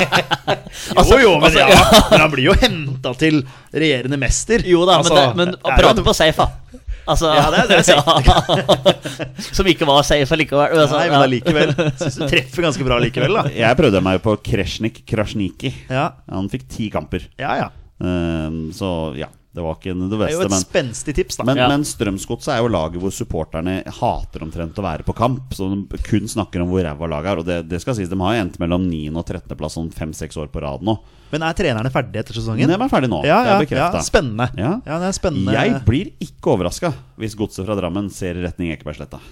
S2: jo, jo, men, Altså, ja. men han blir jo henta til regjerende mester.
S3: Jo da, men,
S2: Altså,
S3: det, men å
S2: det er jo
S3: prate
S2: en-
S3: på safe, da. Altså,
S2: Ja, det er- det er
S3: som ikke var safe allikevel. Altså,
S2: Nei,
S3: ja.
S2: men allikevel. Syns du treffer ganske bra likevel, da.
S1: Jeg prøvde meg på Kresjnik Krasjniki.
S2: Ja,
S1: Han fikk ti kamper.
S2: ja. ja.
S1: Eh, så ja, det var ikke det
S2: Det er jo
S1: beste,
S2: et
S1: men
S2: spenstig tips, da.
S1: men,
S3: Ja.
S1: men Strømsgodset er jo laget hvor supporterne hater omtrent å være på kamp. Så de kun snakker om hvor ræva laget er. Og det, det skal sies, de har jo endt mellom 9. og 13. plass sånn fem-seks år på rad nå.
S2: Men er trenerne ferdige etter sesongen?
S1: Men de er ferdig nå.
S2: Ja, ja,
S1: det er
S2: ja,
S1: bekrefta.
S2: spennende. Ja.
S1: Ja.
S2: det er spennende.
S1: Jeg blir ikke overraska hvis godset fra Drammen ser i retning Ekebergsletta.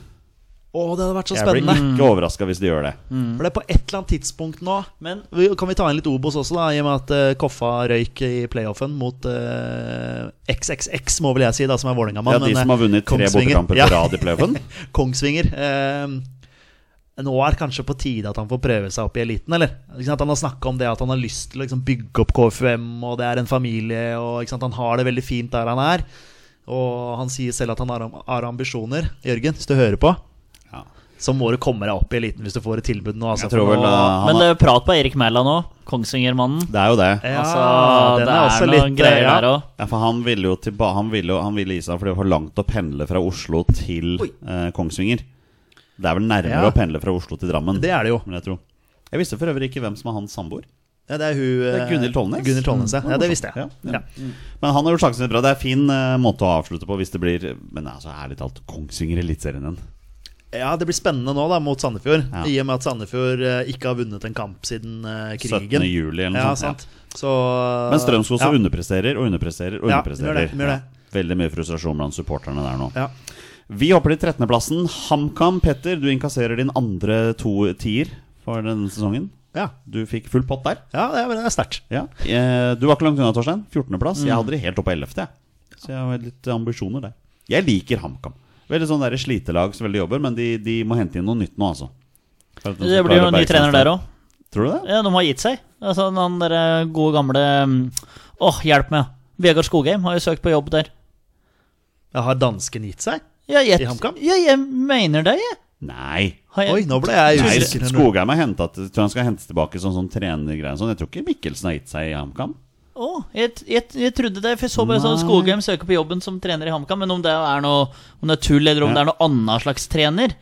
S2: Å, det hadde vært så
S1: Jeg blir
S2: spennende. Mm.
S1: ikke overraska hvis de gjør det.
S2: For det er på et eller annet tidspunkt nå
S3: Men
S2: vi- Kan vi ta inn litt Obos også, da i og med at eh, Koffa røyk i playoffen mot eh, XXX, må vel jeg si, da som er
S1: Ja,
S2: Vålerenga-mann.
S1: de
S2: men, eh,
S1: som har vunnet tre
S2: Kongsvinger.
S1: bortekamper
S2: Ja.
S1: på rad i playoffen.
S2: Kongsvinger. Eh, nå er det kanskje på tide at han får prøve seg opp i eliten, eller? Ikke sant? Han har snakka om det at han har lyst til å liksom, bygge opp KFUM, og det er en familie, og ikke sant? han har det veldig fint der han er. Og han sier selv at han har, har ambisjoner. Jørgen, hvis du hører på,
S1: Ja.
S2: så må du komme deg opp i eliten hvis du får et tilbud nå. Altså,
S1: Jeg tror
S2: for
S1: vel
S2: nå-
S1: eh,
S3: Men
S1: han
S3: det
S1: har,
S3: er prat på Erik Mæland òg, Kongsvinger-mannen.
S1: Det er jo det.
S2: ja,
S3: altså,
S2: den
S3: det
S2: er, også
S3: noen
S2: litt eh,
S3: greier
S2: ja.
S3: der òg.
S1: Ja, for han ville jo tilba han ville, jo- han ville gi seg fordi det var for langt å pendle fra Oslo til eh, Kongsvinger. Det er vel nærmere
S2: Ja.
S1: å pendle fra Oslo til Drammen.
S2: Det er det jo.
S1: vil jeg tro. Jeg visste for øvrig ikke hvem som er hans samboer.
S2: Ja, det er hun
S1: Det er
S2: eh,
S1: Gunhild Tollnes.
S2: Gunhild Tollnes, ja.
S1: Mm.
S2: ja, det visste jeg.
S1: Ja, ja. Men han har gjort sjansen sin bra. Det er en fin eh, måte å avslutte på hvis det blir Men altså, ærlig talt, Kongsvinger i Eliteserien igjen.
S2: Ja, Det blir spennende nå da, mot Sandefjord.
S1: Ja.
S2: I og med at Sandefjord eh, ikke har vunnet en kamp siden eh,
S1: 17.
S2: krigen.
S1: juli eller noe
S2: Ja,
S1: sånt.
S2: sant. Så,
S1: Ja. Men Strømskog også
S2: ja.
S1: underpresterer og underpresterer og
S2: Ja,
S1: underpresterer.
S2: gjør det, gjør det.
S1: Ja. Veldig mye frustrasjon blant supporterne der nå.
S2: Ja.
S1: Vi hopper til 13.-plassen. HamKam, Petter, du inkasserer din andre to tier for denne sesongen.
S2: Ja.
S1: Du fikk full pott der.
S2: ja, det er, det er sterkt.
S1: Ja. Eh, Du var ikke langt unna, Torstein. 14.-plass.
S2: Mm.
S1: Jeg hadde det helt opp på 11., jeg. Så jeg har litt ambisjoner der. Jeg liker HamKam. Veldig sånn der slitelag som veldig jobber, men de, de må hente inn noe nytt nå, altså. For at de
S3: Det
S1: skal
S3: blir jo
S1: klare
S3: en ny
S1: Bergsenstad.
S3: trener der òg.
S1: Tror du det?
S3: Ja, de har gitt seg. Altså, den der gode gamle mm, Åh, hjelp meg! Vegard Skogheim har jo søkt på jobb der.
S2: Ja, har dansken gitt seg?
S3: Ja, jeg,
S2: I HamKam?
S3: ja, jeg mener det, jeg.
S1: Nei.
S3: Har jeg
S2: Oi, nå ble jeg
S1: Nei
S2: usikker. nå.
S1: Skogheim er henta til Tror han skal hentes tilbake sånn sånn trenergreier og sånn. Jeg tror ikke Mikkelsen har gitt seg i HamKam.
S3: Å, jeg, jeg, jeg trodde det, for jeg så bare sånn
S1: Nei.
S3: Skogheim søker på jobben som trener i HamKam. Men om det er noe Om det er tull, eller om
S1: Ja.
S3: det er noe annen slags trener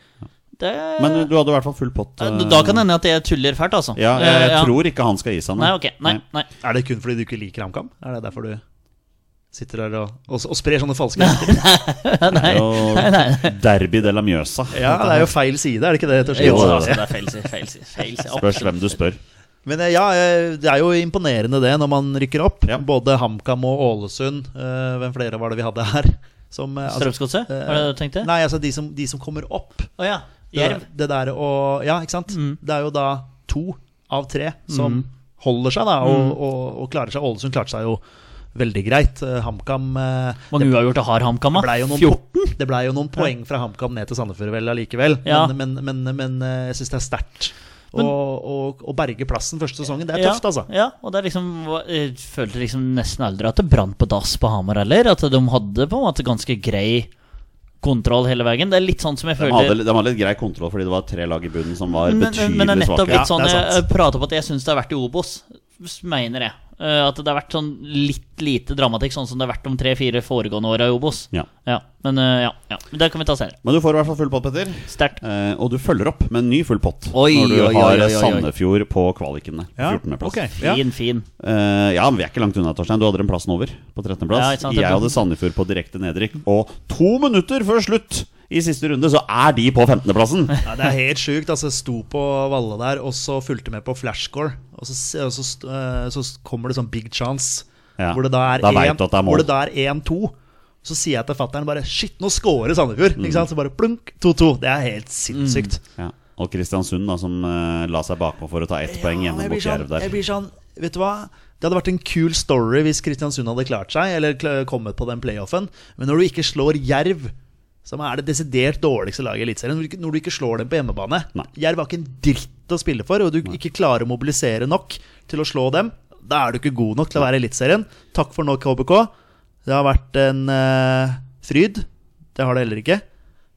S3: det,
S1: Men du hadde i hvert fall full pott.
S3: Eh,
S1: eh,
S3: Da kan det hende at jeg tuller fælt, altså.
S1: Ja, jeg,
S3: Eh, ja.
S1: tror ikke han skal gi seg nå.
S3: Nei, ok. Nei, nei.
S2: Er det kun fordi du ikke liker HamKam? Er det derfor du sitter der og, og, og sprer sånne falske rykter?
S1: Det er jo Derby de la Mjøsa.
S2: Ja, det er jo feil side, er det ikke det? rett og slett?
S3: Jo,
S1: Jo, det er
S3: altså,
S1: det.
S3: det er feil side. Feil side. Feil side.
S1: Spørs hvem du spør.
S2: Men eh, ja, eh, det er jo imponerende det når man rykker opp.
S1: Ja.
S2: Både HamKam og Ålesund. eh, Hvem flere var det vi hadde her? Som, eh, altså-
S3: Strømsgodset? Var det det du tenkte?
S2: Nei, altså de som, de som kommer opp.
S3: Å ja.
S2: Det,
S3: Jerv.
S2: det der å Ja, ikke sant?
S3: Mm.
S2: Det er jo da to av tre som
S3: Mm.
S2: holder seg, da, og,
S3: Mm.
S2: og, og klarer seg. Ålesund klarte seg jo veldig greit. Eh, HamKam eh,
S3: Mange uavgjort og har HamKam,
S2: det
S3: da.
S2: blei jo, noen po- det ble jo noen poeng fra HamKam ned til Sandefjord vel allikevel,
S3: Ja.
S2: men, men, men, men eh, jeg syns det er sterkt.
S3: Men-
S2: Og å berge plassen første sesongen, det er tøft, altså.
S3: Ja, og det er liksom Jeg følte liksom nesten aldri at det brant på dass på Hamar heller. At de hadde på en måte ganske grei kontroll hele veien. Det er litt sånn som jeg
S1: De
S3: føler
S1: hadde, de hadde litt grei kontroll fordi det var tre lag i bunnen som var
S3: men,
S1: betydelig
S3: men det er nettopp
S1: svake.
S3: litt sånn
S2: Ja, det er
S3: jeg prater på at jeg syns det har vært i Obos, mener jeg. Eh, At det har vært sånn litt lite dramatikk, sånn som det har vært de tre-fire foregående åra i Obos.
S1: Ja.
S3: Ja, men eh, ja, ja. Men Det kan vi ta senere.
S1: Men du får i hvert fall full pott, Petter.
S3: Sterkt.
S1: Eh, og du følger opp med en ny full pott
S3: Oi,
S1: når du
S3: oi, oi,
S1: har
S3: oi, oi, oi.
S1: Sandefjord på kvalikene.
S2: Ja,
S1: 14.-plass.
S2: ok, ja.
S3: Fin, fin.
S1: Eh, ja, men vi er ikke langt unna, Torstein. Du hadde den plassen over på
S3: Ja,
S1: 13.-plass.
S3: ikke sant,
S1: jeg
S3: det er
S1: hadde Sandefjord på direkte nedrykk. Og to minutter før slutt i siste runde så er de på 15.-plassen!
S2: Ja, det er helt sjukt. Altså, jeg sto på Valle der, og så fulgte med på flashscore. Og så, og så, st- eh, så kommer det sånn big chance,
S1: Ja,
S2: hvor det da er
S1: da vet
S2: en-
S1: du at det er mål.
S2: hvor det da er 1-2. Så sier jeg til fatter'n bare Shit, nå scorer Sandefjord!
S1: Mm.
S2: Ikke sant? Så bare plunk, 2-2. Det er helt sinnssykt.
S1: Ja. Og Kristiansund, da, som eh, la seg bakpå for å ta ett poeng
S2: men
S1: gjennom
S2: jeg
S1: mot
S2: blir sånn,
S1: Jerv der.
S2: Jeg blir sånn, vet du hva? Det hadde vært en kul story hvis Kristiansund hadde klart seg, eller kl- kommet på den playoffen. Men når du ikke slår Jerv, som er det desidert dårligste laget i Eliteserien når du ikke- Når du ikke slår dem på hjemmebane
S1: Nei.
S2: Jerv har ikke en dritt å spille for, og du ikke klarer å mobilisere nok til å slå dem, da er du ikke god nok til å være i Eliteserien. Takk for nå, KBK. Det har vært en eh, fryd. Det har det heller ikke.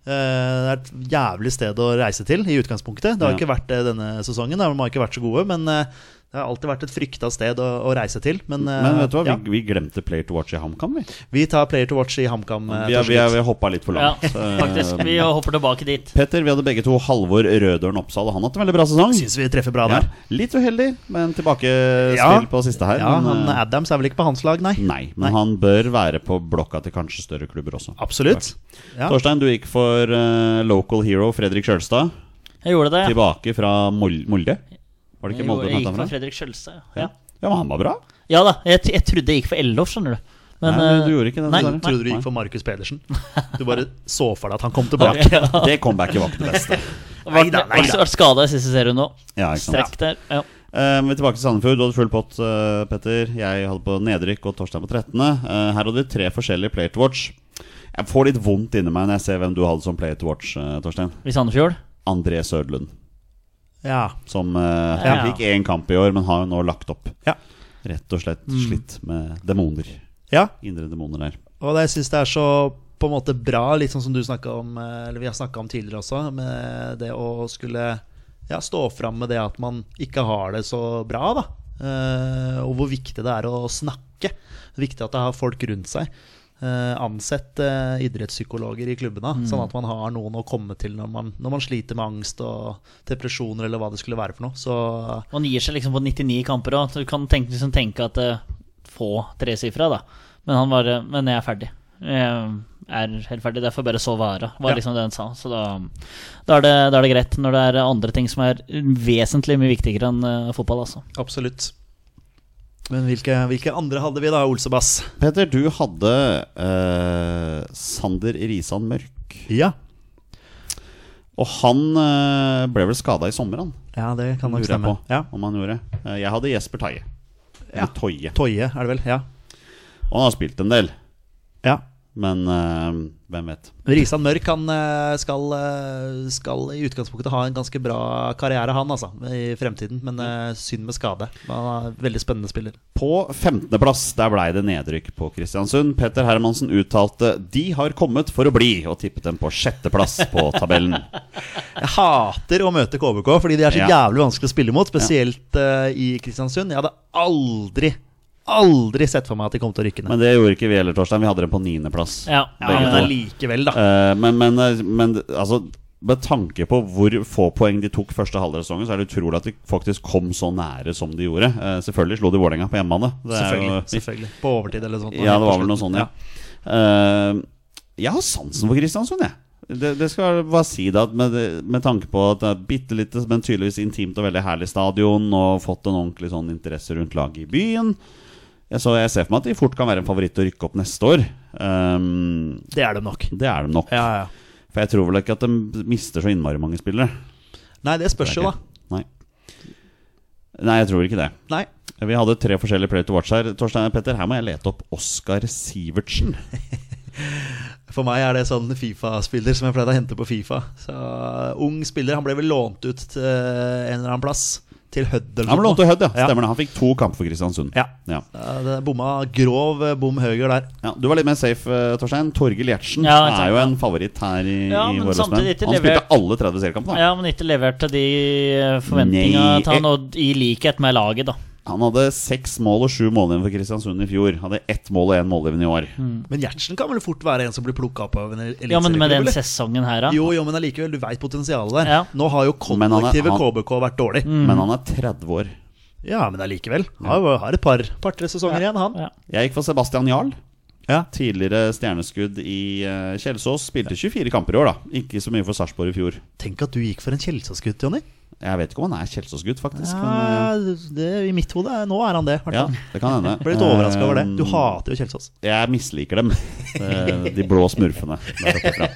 S2: Eh, Det er et jævlig sted å reise til i utgangspunktet. Det har
S1: Ja.
S2: ikke vært det denne sesongen. da. De har ikke vært så gode, men eh, det har alltid vært et frykta sted å, å reise til. Men, eh,
S1: Men vet du hva,
S2: ja.
S1: vi, vi glemte Player to Watch i HamKam, vi.
S2: vi, tar player to watch i HamKam. eh,
S1: Vi, har-
S2: til
S1: vi, har-
S2: slutt.
S1: vi hoppa litt for
S3: Ja,
S1: langt. Eh,
S3: faktisk. Vi hopper tilbake dit.
S1: Petter, vi hadde begge to Halvor Rødøren Oppsal, og han har hatt en veldig bra sesong.
S2: Syns vi treffer bra
S1: Ja,
S2: der.
S1: litt uheldig, men tilbakespill
S2: Ja.
S1: på siste her.
S2: Ja, han
S1: men, eh,
S2: Adams er vel ikke på hans lag, nei?
S1: Nei, men han bør være på blokka til kanskje større klubber også.
S2: Absolutt. Ja.
S1: Torstein, du gikk for eh, local hero Fredrik Kjølstad.
S3: Jeg gjorde det. ja.
S1: Tilbake fra Mol Molde. Var det ikke Molde du
S3: jeg gikk
S1: hentet
S3: for
S1: han fra?
S3: Fredrik Skjølstad.
S1: Ja.
S3: Ja.
S1: ja, men han var bra.
S3: ja da, jeg, t- jeg trodde jeg gikk for Ellof, skjønner du.
S1: Nei,
S3: eh,
S1: du gjorde ikke det,
S3: Nei,
S1: dessverre.
S3: nei.
S2: Trodde du
S1: Nei.
S2: gikk for Markus Pedersen? Du bare så for deg at han kom tilbake.
S1: Det comebacket var ikke det beste.
S2: Neida, neida.
S3: Vært skada i siste serien nå.
S1: Ja, ikke sant?
S3: Strekk der. Ja.
S1: Eh, vi er tilbake til Sandefjord. Du hadde full pott, eh, Petter. Jeg hadde på nedrykk og Torstein på 13. Eh, her hadde vi tre forskjellige Play to Watch. Jeg får litt vondt inni meg når jeg ser hvem du hadde som Play to Watch, eh, Torstein.
S3: I Sandefjord.
S1: André Sødlund.
S2: Ja.
S1: Som eh,
S3: Ja.
S1: fikk én kamp i år, men har jo nå lagt opp.
S2: Ja.
S1: Rett og slett slitt med demoner.
S2: ja.
S1: Indre demoner der.
S2: Og det, jeg syns det er så på en måte bra, litt sånn som du snakket om, eh, eller vi har snakka om tidligere også, med det å skulle ja, stå fram med det at man ikke har det så bra, da. Eh, og hvor viktig det er å snakke. Viktig at det har folk rundt seg. eh, ansett eh, idrettspsykologer i klubbene, sånn at man har noen å komme til når man, når man sliter med angst og depresjoner eller hva det skulle være for noe. Så
S3: Man gir seg liksom på 99 kamper òg. Du kan tenke, liksom tenke at eh, få tresifra, da. Men han var eh, Men jeg er ferdig. Jeg er helt ferdig. Derfor bare sove her, da. Var
S2: Ja.
S3: liksom det han sa. Så da, da, er det, da er det greit. Når det er andre ting som er vesentlig mye viktigere enn eh, fotball, altså.
S2: absolutt. Men hvilke, hvilke andre hadde vi da, Olsebass?
S1: Peter, du hadde eh, Sander Risan Mørk.
S2: Ja.
S1: Og han eh, ble vel skada i sommer, han.
S2: ja, det kan nok
S1: Lurer jeg
S2: stemme.
S1: på
S2: Ja.
S1: om han gjorde. Eh, jeg hadde Jesper Taie.
S2: Ja.
S1: Eller Toie.
S2: Toye, er det vel? Ja.
S1: Og han har spilt en del,
S2: ja.
S1: men eh, hvem vet.
S2: Risan Mørk han eh, skal, eh, skal i utgangspunktet ha en ganske bra karriere, han altså, i fremtiden. Men eh, synd med skade. Han er veldig spennende spiller.
S1: På 15.-plass der blei det nedrykk på Kristiansund. Petter Hermansen uttalte 'De har kommet for å bli', og tippet dem på sjetteplass på tabellen.
S2: Jeg hater å møte KBK, fordi de er så
S1: Ja.
S2: jævlig vanskelig å spille mot. Spesielt eh, i Kristiansund. Jeg hadde aldri, aldri sett for meg at de kom til å rykke ned.
S1: Men det gjorde ikke vi heller, Torstein. Vi hadde dem på niendeplass.
S3: Ja.
S2: Ja,
S1: begge
S2: men
S1: to.
S2: allikevel, da.
S1: Eh, men, men, eh, men altså med tanke på hvor få poeng de tok første halvdel av sesongen, så er det utrolig at de faktisk kom så nære som de gjorde. Eh, selvfølgelig slo de Vålerenga på hjemmebane. Det er jo-
S2: Selvfølgelig. selvfølgelig På overtid eller sånt.
S1: Ja, det var vel noe sånt, ja. Eh, jeg har sansen for Kristiansund, jeg. Det, det skal jeg bare si da, at med, med tanke på at det er bitte lite, men tydeligvis intimt og veldig herlig stadion, og fått en ordentlig sånn interesse rundt laget i byen. Jeg- Så jeg ser for meg at de fort kan være en favoritt å rykke opp neste år. Ehm,
S2: Det er de nok.
S1: det er de nok.
S2: Ja, ja.
S1: For jeg tror vel ikke at de mister så innmari mange spillere.
S2: Nei, det spørs jo, da.
S1: Nei. Nei, jeg tror ikke det.
S2: Nei.
S1: Vi hadde tre forskjellige player to watch her. Torstein og Petter, her må jeg lete opp Oskar Sivertsen.
S2: For meg er det sånn Fifa-spiller som jeg pleide å hente på Fifa. Så uh, Ung spiller. Han ble vel lånt ut til uh, en eller annen plass. Til Hødd eller
S1: Han ble
S2: noe
S1: lånt til Hødd, ja.
S2: Ja.
S1: Stemmer det. Han fikk to kamper for Kristiansund.
S2: Ja.
S1: Ja.
S2: Ja, det er bomma grov eh, bom høger der.
S1: Ja, du var litt mer safe, eh, Torstein. Torgill Gjertsen
S3: Ja, ikke sant.
S1: er jo en favoritt her i,
S3: Ja,
S1: i
S3: men
S1: våre
S3: samtidig
S1: spenn.
S3: ikke
S1: Han spilte
S3: levert.
S1: alle 30 seriekampene. da.
S3: Ja, men ikke leverte de eh, forventningene
S1: Nei,
S3: til han,
S1: eh.
S3: og i likhet med laget, da.
S1: Han hadde seks mål og sju målgivende for Kristiansund i fjor. Hadde ett mål og én målgivende i år.
S2: Men Gjertsen kan vel fort være en som blir plukka opp av en el-
S3: Ja, men med
S2: eliteserieklubb,
S3: den
S2: eller?
S3: sesongen her, da.
S2: Jo, jo, men allikevel, du veit potensialet der.
S3: Ja. Mm.
S2: Nå har jo
S1: Men han er-
S2: kollektivet
S1: han-
S2: KBK vært dårlig.
S1: Men han er 30 år.
S2: Ja, men allikevel. Har, jo- har et par- par-tre sesonger igjen, han.
S3: Ja.
S1: Jeg gikk for Sebastian Jarl.
S2: Ja.
S1: Tidligere stjerneskudd i eh, Kjelsås. Spilte 24 kamper i år, da. Ikke så mye for Sarpsborg i fjor.
S2: Tenk at du gikk for en Kjelsås-gutt, Jonny.
S1: Jeg vet ikke om han er Kjelsås-gutt, faktisk. men, eh,
S2: Ja, det- I mitt hode er- nå er han det. i hvert
S1: ja,
S2: fall.
S1: det kan hende.
S2: Ble litt overraska over det.
S1: Eh,
S2: Du hater jo Kjelsås.
S1: Jeg misliker dem. Eh, De blå smurfene. der oppe fra.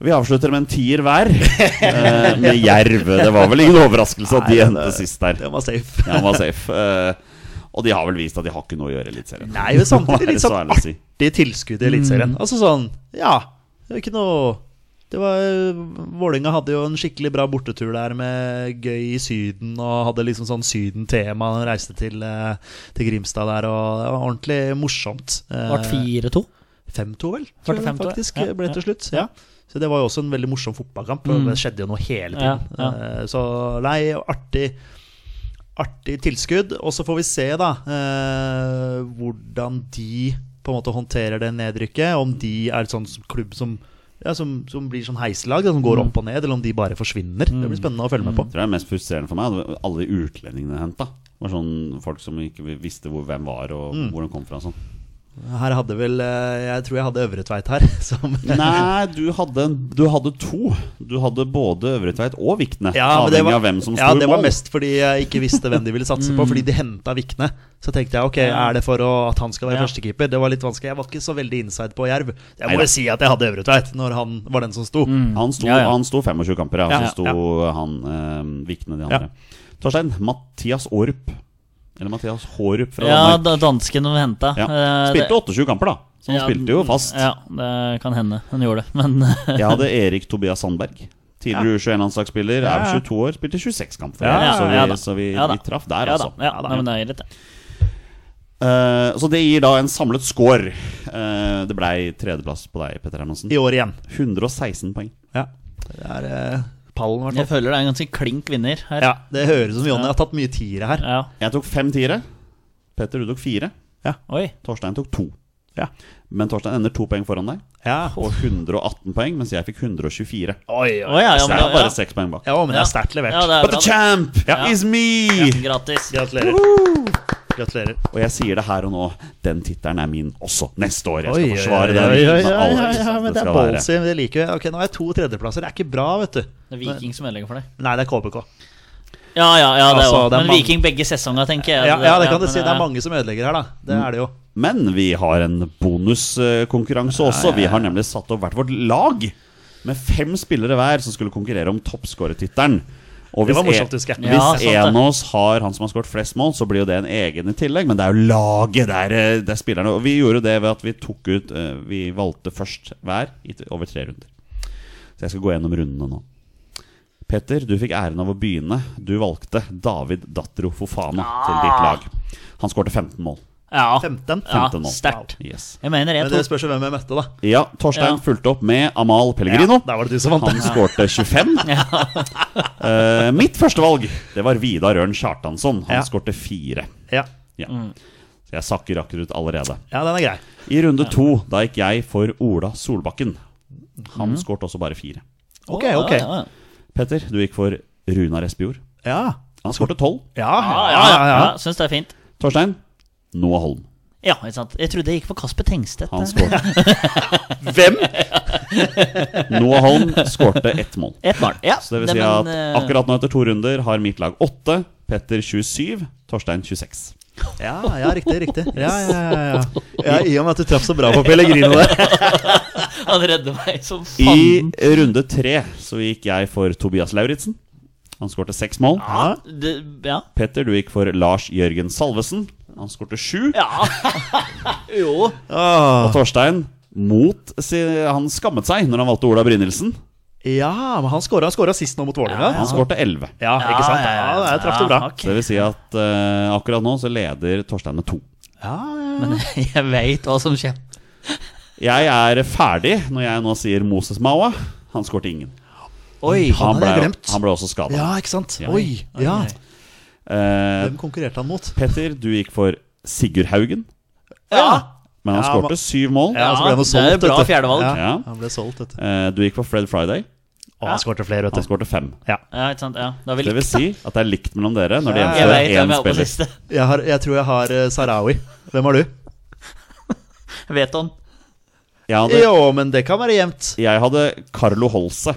S1: Vi avslutter med en tier hver, eh, med jerv. Det var vel ingen overraskelse at de endte sist der.
S2: Den var safe.
S1: Ja, han var safe. Eh, Og de har vel vist at de har ikke noe å gjøre i Eliteserien.
S2: Nei, men
S1: Må
S2: samtidig
S1: være
S2: litt
S1: så ærlig
S2: sånn
S1: Mm. å si.
S2: artig tilskudd i Eliteserien. Altså sånn, ja Det var ikke noe det var, Vålinga hadde jo en skikkelig bra bortetur der med gøy i Syden, og hadde liksom sånn Syden-tema. og Reiste til, eh, til Grimstad der, og det var ordentlig morsomt. Eh,
S3: Ble 4-2.
S2: 5-2, vel?
S3: Ble
S2: tror jeg
S3: 5-2,
S2: faktisk eh,
S3: ja. Ja,
S2: ble til slutt. Ja. Mm.
S3: ja.
S2: Så det var jo også en veldig morsom fotballkamp. og Det skjedde jo noe hele
S3: Ja,
S2: tiden.
S3: ja.
S2: Eh, Så nei, artig, artig tilskudd. Og så får vi se, da, eh, hvordan de på en måte håndterer det nedrykket. Om de er et sånn klubb som ja, som, som blir sånn heiselag, da, som går opp og ned, eller om de bare forsvinner. Det blir spennende å følge med på.
S1: Jeg tror det er mest frustrerende for meg det var alle de utlendingene henta. Var sånn folk som ikke visste hvor, hvem var og
S2: Mm.
S1: hvor de kom fra. og Sånn.
S2: Her hadde vel eh, Jeg tror jeg hadde Øvre Tveit her. Som,
S1: Nei, du hadde, en- du hadde to. Du hadde både Øvre Tveit og Vikne.
S2: Ja, men det
S1: avhengig
S2: var,
S1: av hvem som sto
S2: ja,
S1: i
S2: det var
S1: mål.
S2: mest fordi jeg ikke visste hvem de ville satse på, fordi de henta Vikne. Så tenkte jeg ok, er det for å, at han skal være
S3: Ja.
S2: førstekeeper? Det var litt vanskelig. Jeg var ikke så veldig inside på Jerv. Jeg må
S1: Neida.
S2: jo si at jeg hadde Øvretveit når han var den som sto.
S1: Han sto,
S3: Ja, ja.
S1: Han sto 25 kamper, ja.
S2: Ja,
S1: og så
S2: ja,
S1: sto han eh, Vikne de
S2: Ja.
S1: andre. Torstein, Mathias Aarup. Eller Mathias Hårup fra
S3: Ja,
S1: Danmark.
S3: da dansken de henta.
S1: Ja.
S2: eh,
S1: Spilte 28 kamper, da. Så han spilte jo fast.
S3: Ja, det kan hende han gjorde det, men
S1: Jeg hadde Erik Tobias Sandberg. Tidligere U21-landslagsspiller.
S2: Ja, ja.
S1: Er 22 år, spilte 26 kamper.
S3: Ja, ja,
S1: så vi,
S3: ja da.
S1: så vi,
S3: Ja da.
S1: vi traff der,
S3: Ja da.
S1: altså.
S3: Ja, nei, men det er greit, det.
S1: Eh, så det gir da en samlet score. Eh, det blei tredjeplass på deg, Petter Hermansen.
S2: I år igjen.
S1: 116 poeng.
S2: Ja. Det er eh, pallen, i hvert
S3: Jeg
S2: fall.
S3: føler det er en ganske klink vinner her.
S2: Ja, det høres ut som Jonny har tatt mye tiere her.
S3: Ja.
S1: Jeg tok fem tiere. Petter, du tok fire.
S3: Oi.
S1: Torstein tok to.
S2: Ja.
S1: Men Torstein ender to poeng foran deg,
S2: Ja.
S1: og 118 poeng, mens jeg fikk 124.
S2: Oi,
S3: Å ja, ja,
S1: Så
S3: men
S1: jeg
S3: da-
S1: er bare
S3: ja.
S1: seks poeng bak.
S2: Ja, men det er sterkt levert.
S3: Ja, det er
S1: But
S3: bra.
S1: the champ
S2: Ja.
S1: is me!
S3: det. Gratis.
S2: Gratulerer. Gratulerer.
S1: Og jeg sier det her og nå, den tittelen er min også neste år. Jeg skal
S2: Oi,
S1: forsvare
S2: oi,
S1: den.
S2: oi, oi,
S1: med
S2: oi,
S1: alt
S2: oi, oi, oi, men det er
S1: skal
S2: ballsy. men Det liker jeg. Ok, Nå har jeg to tredjeplasser. Det er ikke bra, vet du.
S3: Det er Viking som ødelegger for deg.
S2: Nei, det er KBK.
S3: Ja, ja, ja, det er
S2: Altså,
S3: jo-
S2: det er
S3: Men
S2: mange-
S3: Viking begge sesonger, tenker jeg.
S2: Ja, ja, det kan du
S3: men,
S2: si. Det er
S3: ja.
S2: mange som ødelegger her, da. Det er det jo.
S1: Men vi har en bonuskonkurranse også. Vi har nemlig satt opp hvert vårt lag med fem spillere hver som skulle konkurrere om toppskårertittelen. Og
S2: Det var
S1: hvis
S2: morsomt,
S1: en-
S2: husker jeg.
S3: Ja,
S1: Hvis
S3: sant det.
S1: en av oss har han som har skåret flest mål, så blir jo det en egen i tillegg. Men det er jo laget, det er, eh, det er spillerne. Og vi gjorde jo det ved at vi tok ut eh, Vi valgte først hver i t- over tre runder. Så jeg skal gå gjennom rundene nå. Petter, du fikk æren av å begynne. Du valgte David Datro Fofana til ditt
S3: Ah.
S1: lag. Han skårte 15 mål.
S3: Ja,
S2: 15.
S3: ja
S1: 15 nå.
S3: sterkt.
S1: Yes.
S3: Jeg mener
S2: Men
S3: jeg
S2: det
S3: tok
S2: spørs jo hvem jeg møtte, da.
S1: Ja, Torstein
S3: Ja.
S1: fulgte opp med Amal Pellegrino.
S2: Der var det du som vant.
S1: Han skårte 25. Eh, mitt første valg det var Vidar Ørn Kjartansson. Han
S2: Ja.
S1: skårte fire.
S2: Ja.
S1: Ja.
S3: Mm.
S1: Så jeg sakker akkerut allerede.
S2: ja, den er grei.
S1: I runde to da gikk jeg for Ola Solbakken. Han
S3: Mhm.
S1: skårte også bare fire.
S2: Ok, ok.
S3: Ja, ja, ja.
S1: Petter, du gikk for Runar Espejord.
S2: Ja.
S1: Han skårte tolv.
S2: Ja,
S3: Ja,
S2: ja, ja. ja.
S3: Syns det er fint.
S1: Torstein, Noah Holm.
S3: Ja, ikke sant. Jeg trodde jeg gikk for Kasper Tengstedt.
S1: Han
S3: der.
S1: skårte
S2: Hvem?
S1: Noah Holm skårte ett mål.
S3: eh. Ett mål. Ja,
S1: Så det vil si at
S3: eh,
S1: akkurat nå etter to runder har mitt lag åtte. Petter 27, Torstein 26.
S2: Ja, ja, riktig, riktig. Ja, ja, ja, ja. ja I og med at du traff så bra på Pellegrino der.
S3: Han redder meg som
S1: I
S3: faen.
S1: runde tre så gikk jeg for Tobias Lauritzen. Han skårte seks mål.
S2: Ja.
S3: Det, ja.
S1: Petter, du gikk for Lars Jørgen Salvesen. Han skårte sju.
S3: ja. jo.
S2: Åh.
S1: Og Torstein, mot si, Han skammet seg når han valgte Ola Brynildsen.
S2: ja, men han skåra, han skåra sist nå mot Vålerenga.
S1: Han skårte elleve.
S2: Ja, ikke sant?
S3: Ja, ja, ja.
S2: Ja, jeg traff det bra.
S3: Ja, ok.
S1: Så det vil si at eh, akkurat nå så leder Torstein med to.
S2: Ja, ja, ja.
S3: Men jeg veit hva som skjer.
S1: Jeg er ferdig når jeg nå sier Moses Mawa. Han skårte ingen.
S3: Oi.
S1: Han
S2: hadde
S1: ble,
S2: jeg glemt.
S1: han ble også skada.
S2: Ja, ikke sant? Oi, ja. Hvem konkurrerte han mot?
S1: Eh, Petter, du gikk for Sigurd Haugen.
S3: Ja.
S1: Men han
S2: Ja,
S1: skårte syv mål.
S2: Ja, så ble han jo
S3: det er
S2: solgt,
S3: bra
S2: vet du.
S3: fjerdevalg.
S1: Ja.
S2: Ja, han ble solgt, vet du.
S1: Eh, Du gikk for Fred Friday.
S2: Og han skårte flere,
S1: Han
S2: vet du.
S1: skårte fem.
S3: Ja, ikke sant. Ja. Da har vi
S1: Det vil
S3: likt, da.
S1: si at det er likt mellom dere når det
S2: Ja.
S1: gjenstår én
S3: Jeg vet hvem jeg har på
S1: spiller.
S3: siste.
S2: Jeg, har, jeg tror jeg har eh, Sarawi. Hvem har du?
S3: Vet han.
S1: Jeg hadde,
S2: Jo, men det kan være jevnt.
S1: jeg hadde Carlo Holse.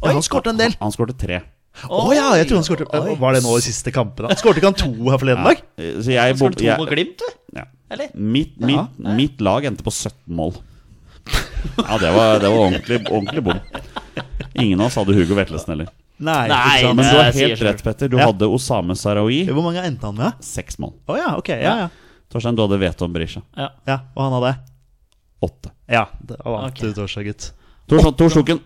S2: Ja, han skårte en del.
S1: Han skårte tre.
S2: Å ja, jeg tror han skårte
S3: Oi.
S2: Var det nå i siste kampen? da? Skårte ikke han to her forleden dag?
S1: Eh, Så jeg,
S3: Skåret
S1: bom-
S3: to mot
S1: jeg
S3: Glimt, du?
S1: ja.
S3: Eller?
S1: mitt, mitt, mitt lag endte på 17 mål. Ja, det var, det var ordentlig, ordentlig bom. Ingen av oss hadde Hugo Vetlesen heller.
S2: Nei.
S3: Nei,
S2: ikke sant?
S1: Men du har
S3: Jeg sier
S1: helt
S3: selv.
S1: rett, Petter. Du
S2: Ja.
S1: hadde Osame Sarawi.
S2: Hvor mange endte han med?
S1: Seks mål.
S2: Å ja, ok. Ja, ja.
S1: Torstein, du hadde Veton Berisha.
S3: Ja.
S2: ja, Og han hadde
S1: Åtte.
S2: Ja, det var vant
S3: Ok.
S2: du torsdag, gutt.
S1: Tor Tor Stokken,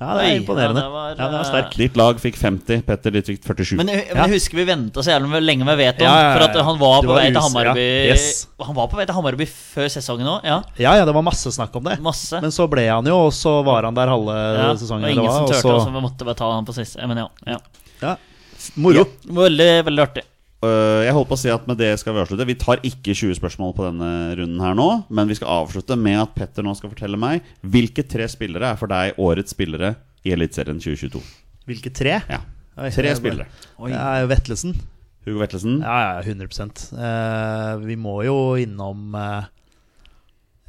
S2: Ja, det er
S3: Oi,
S2: imponerende.
S3: ja, det var, eh,
S2: Ja, den var sterk.
S1: ditt lag fikk 50. Petter, ditt fikk 47.
S3: Men, jeg- men jeg husker vi venta så jævlig lenge med Veton.
S2: Ja, ja, ja, ja.
S3: For at han var
S2: Det
S3: på
S2: var
S3: vei til
S2: us-
S3: Hammarby
S2: ja, yes.
S3: Han var på vei til Hammarby før sesongen òg. Ja.
S2: Ja, ja, det var masse snakk om det.
S3: Masse.
S2: Men så ble han jo, og så var han der halve
S3: ja.
S2: sesongen.
S3: og ingen
S2: eller hva,
S3: som
S2: og
S3: turte,
S2: så-
S3: så... vi måtte bare ta han på siste. Men ja, ja.
S2: ja. Moro.
S3: Veldig, veldig artig.
S1: Øh, Jeg holdt på å si at med det skal vi avslutte. Vi tar ikke 20 spørsmål på denne runden her nå, men vi skal avslutte med at Petter nå skal fortelle meg hvilke tre spillere er for deg årets spillere i Eliteserien 2022.
S2: Hvilke tre?
S1: Ja.
S2: Oi, jeg
S1: Tre
S2: bare-
S1: spillere.
S2: Det er jo Vetlesen.
S1: Hugo Vetlesen.
S2: Ja, ja, 100 Eh, Vi må jo innom eh,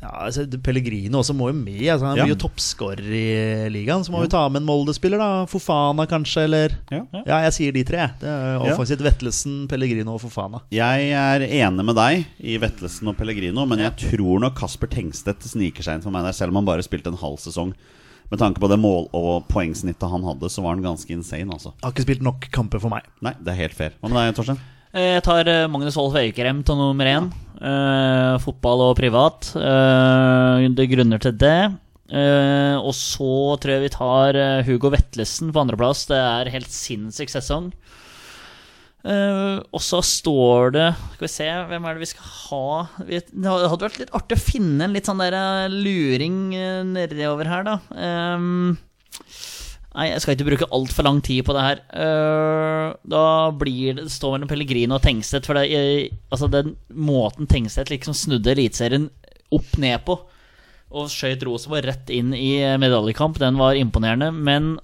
S2: ja, altså, Pellegrino også må jo med. Altså, han
S1: Ja.
S2: er mye toppskårer i ligaen. Så må vi ta med en Molde-spiller, da. Fofana, kanskje, eller
S1: Ja.
S2: Ja, jeg sier de tre. Det er
S1: Ja.
S2: Offensivt Vetlesen, Pellegrino og Fofana.
S1: Jeg er enig med deg i Vetlesen og Pellegrino, men jeg tror nok Kasper Tengstedt sniker seg inn for meg der, selv om han bare spilte en halv sesong. Med tanke på det mål- og poengsnittet han hadde, så var han ganske insane, altså.
S2: Har ikke spilt nok kamper for meg.
S1: Nei, det er helt fair. Hva med deg, Torstein?
S3: Eh, Jeg tar eh, Magnus Wolff Øykrem til nummer én. Eh, fotball og privat. Eh, det er grunner til det. Eh, og så tror jeg vi tar eh, Hugo Vetlesen på andreplass. Det er helt sinnssyk sesong. Eh, og så står det Skal vi se, hvem er det vi skal ha vi, Det hadde vært litt artig å finne en litt sånn der eh, luring eh, nedover her, da. Ehm, Nei, jeg skal ikke bruke altfor lang tid på det her. Eh, da blir det det står eh, mellom Pellegrino og Tengstedt. For det, er- altså den måten Tengstedt liksom snudde Eliteserien opp ned på. Og skjøt Rosenborg rett inn i eh, medaljekamp. Den var imponerende. Men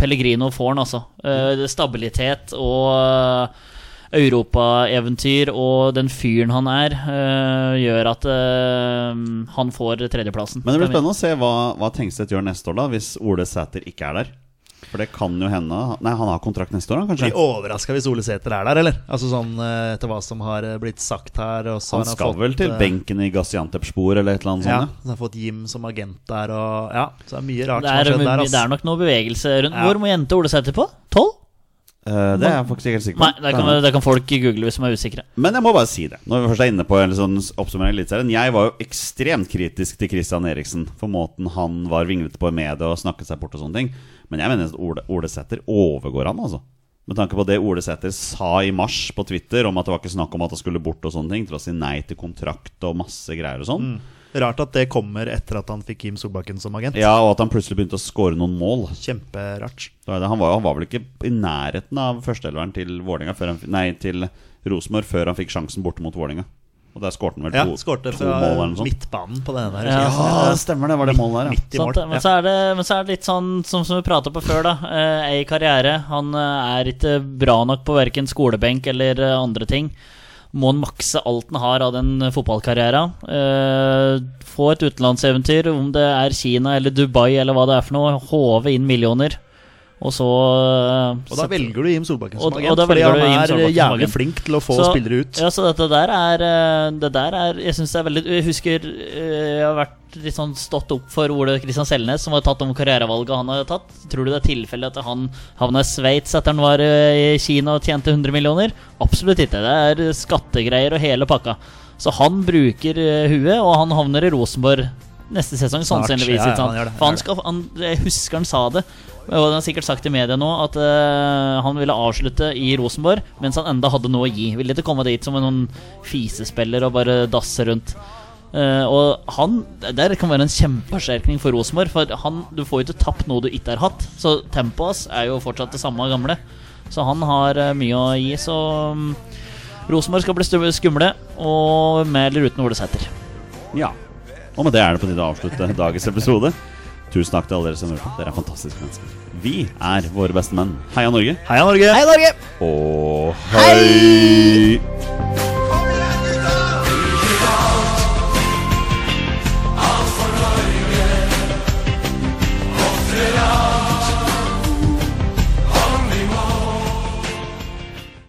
S3: Pellegrino får den, altså. Eh, det er Stabilitet og eh, europaeventyr og den fyren han er, eh, gjør at eh, han får tredjeplassen.
S1: Men det blir spennende å se hva, hva Tengstedt gjør neste år, da hvis Ole Sæter ikke er der. For det kan jo hende Nei, han har kontrakt neste år, han,
S2: Blir
S1: kanskje?
S2: overraska hvis Ole Sæter er der, eller? Altså sånn eh, etter hva som har eh, blitt sagt her. Og så
S1: Han
S2: har
S1: skal
S2: fått,
S1: vel til
S2: eh,
S1: benken sånn, i Gaziantep-spor eller et eller annet
S2: Ja,
S1: sånt?
S2: så har fått Jim som agent der, og ja. Så det er mye rart
S3: Det
S2: som har
S3: er,
S2: skjedd der.
S3: det
S2: ass.
S3: er nok noe bevegelse rundt.
S2: Ja.
S3: Hvor må jente Ole Sæter på? Tolv?
S1: Eh, det er jeg faktisk ikke helt sikker på.
S3: Nei, det kan, det kan folk google hvis de er usikre.
S1: Men jeg må bare si det. Når vi først er inne på en sånn oppsummering av Eliteserien Jeg var jo ekstremt kritisk til Christian Eriksen for måten han var vinglete på i media og snakket seg bort og sånne ting. Men jeg mener at Ole, Ole Sæther overgår han, altså. Med tanke på det Ole Sæther sa i mars på Twitter om at det var ikke snakk om at han skulle bort og sånne ting, til å si nei til kontrakt og masse greier og sånn.
S2: Rart at det kommer etter at han fikk Jim Solbakken som agent.
S1: Ja, og at han plutselig begynte å score noen mål.
S2: Kjemperart.
S1: Det var det. Han var, han var vel ikke i nærheten av førsteelveren til Vålinga før han, fi- Nei, til Rosenborg før han fikk sjansen borte mot Vålinga. Og der skårte han vel
S2: Ja,
S1: to,
S2: skårte
S1: to mål eller
S2: fra
S1: noe sånt.
S2: midtbanen på denne der.
S3: Ja.
S1: Ja, Ah, det stemmer det. Var det målet der, ja.
S2: Midt i mål.
S3: Sant det, men,
S2: Ja.
S3: så er det, men så er det litt sånn som, som vi prata på før, da. Eh, Ei karriere. Han eh, er ikke bra nok på verken skolebenk eller eh, andre ting. Må han makse alt han har av den fotballkarrieren. Eh, få et utenlandseventyr, om det er Kina eller Dubai eller hva det er for noe. Håve inn millioner. Og så eh,
S2: Og da
S3: sette-
S2: velger du Jim Solbakken
S3: Og-
S2: som
S3: og
S2: agent,
S3: da
S2: fordi
S3: velger
S2: han
S3: du Jim
S2: er
S3: Solbakken som
S2: jævlig
S3: agent.
S2: flink til å få
S3: Så-
S2: spillere ut.
S3: Ja, så dette der er, eh, det der er Jeg synes det er veldig Jeg husker eh, jeg har vært litt sånn stått opp for Ole Kristian Selnes, som har tatt om karrierevalget han har tatt. Tror du det er tilfelle at han havna i Sveits etter han var eh, i Kina og tjente 100 millioner? Absolutt ikke. Det er skattegreier og hele pakka. Så han bruker eh, huet, og han havner i Rosenborg neste sesong,
S2: Snart.
S3: sannsynligvis.
S2: Ja, ja,
S3: ikke sant?
S2: han gjør det, han
S3: For han
S2: gjør
S3: skal, han, jeg husker han sa det, og han har sikkert sagt i media nå, at eh, han ville avslutte i Rosenborg mens han enda hadde noe å gi. Ville ikke komme dit som en sånn fisespiller og bare dasse rundt. Eh, og han Der kan være en kjempeforsterkning for Rosenborg. For han, du får jo ikke tapt noe du ikke har hatt. Så tempoet hans er jo fortsatt det samme gamle. Så han har eh, mye å gi. Så mm, Rosenborg skal bli stu- skumle, og med eller uten Ole Sæter.
S1: ja. Og med det er det på tide å avslutte dagens episode. Tusen takk til alle dere som hører på. Dere er fantastiske mennesker. Vi er våre beste menn. Heia Norge,
S2: Heia Norge!
S3: Hei, Norge!
S1: og hei!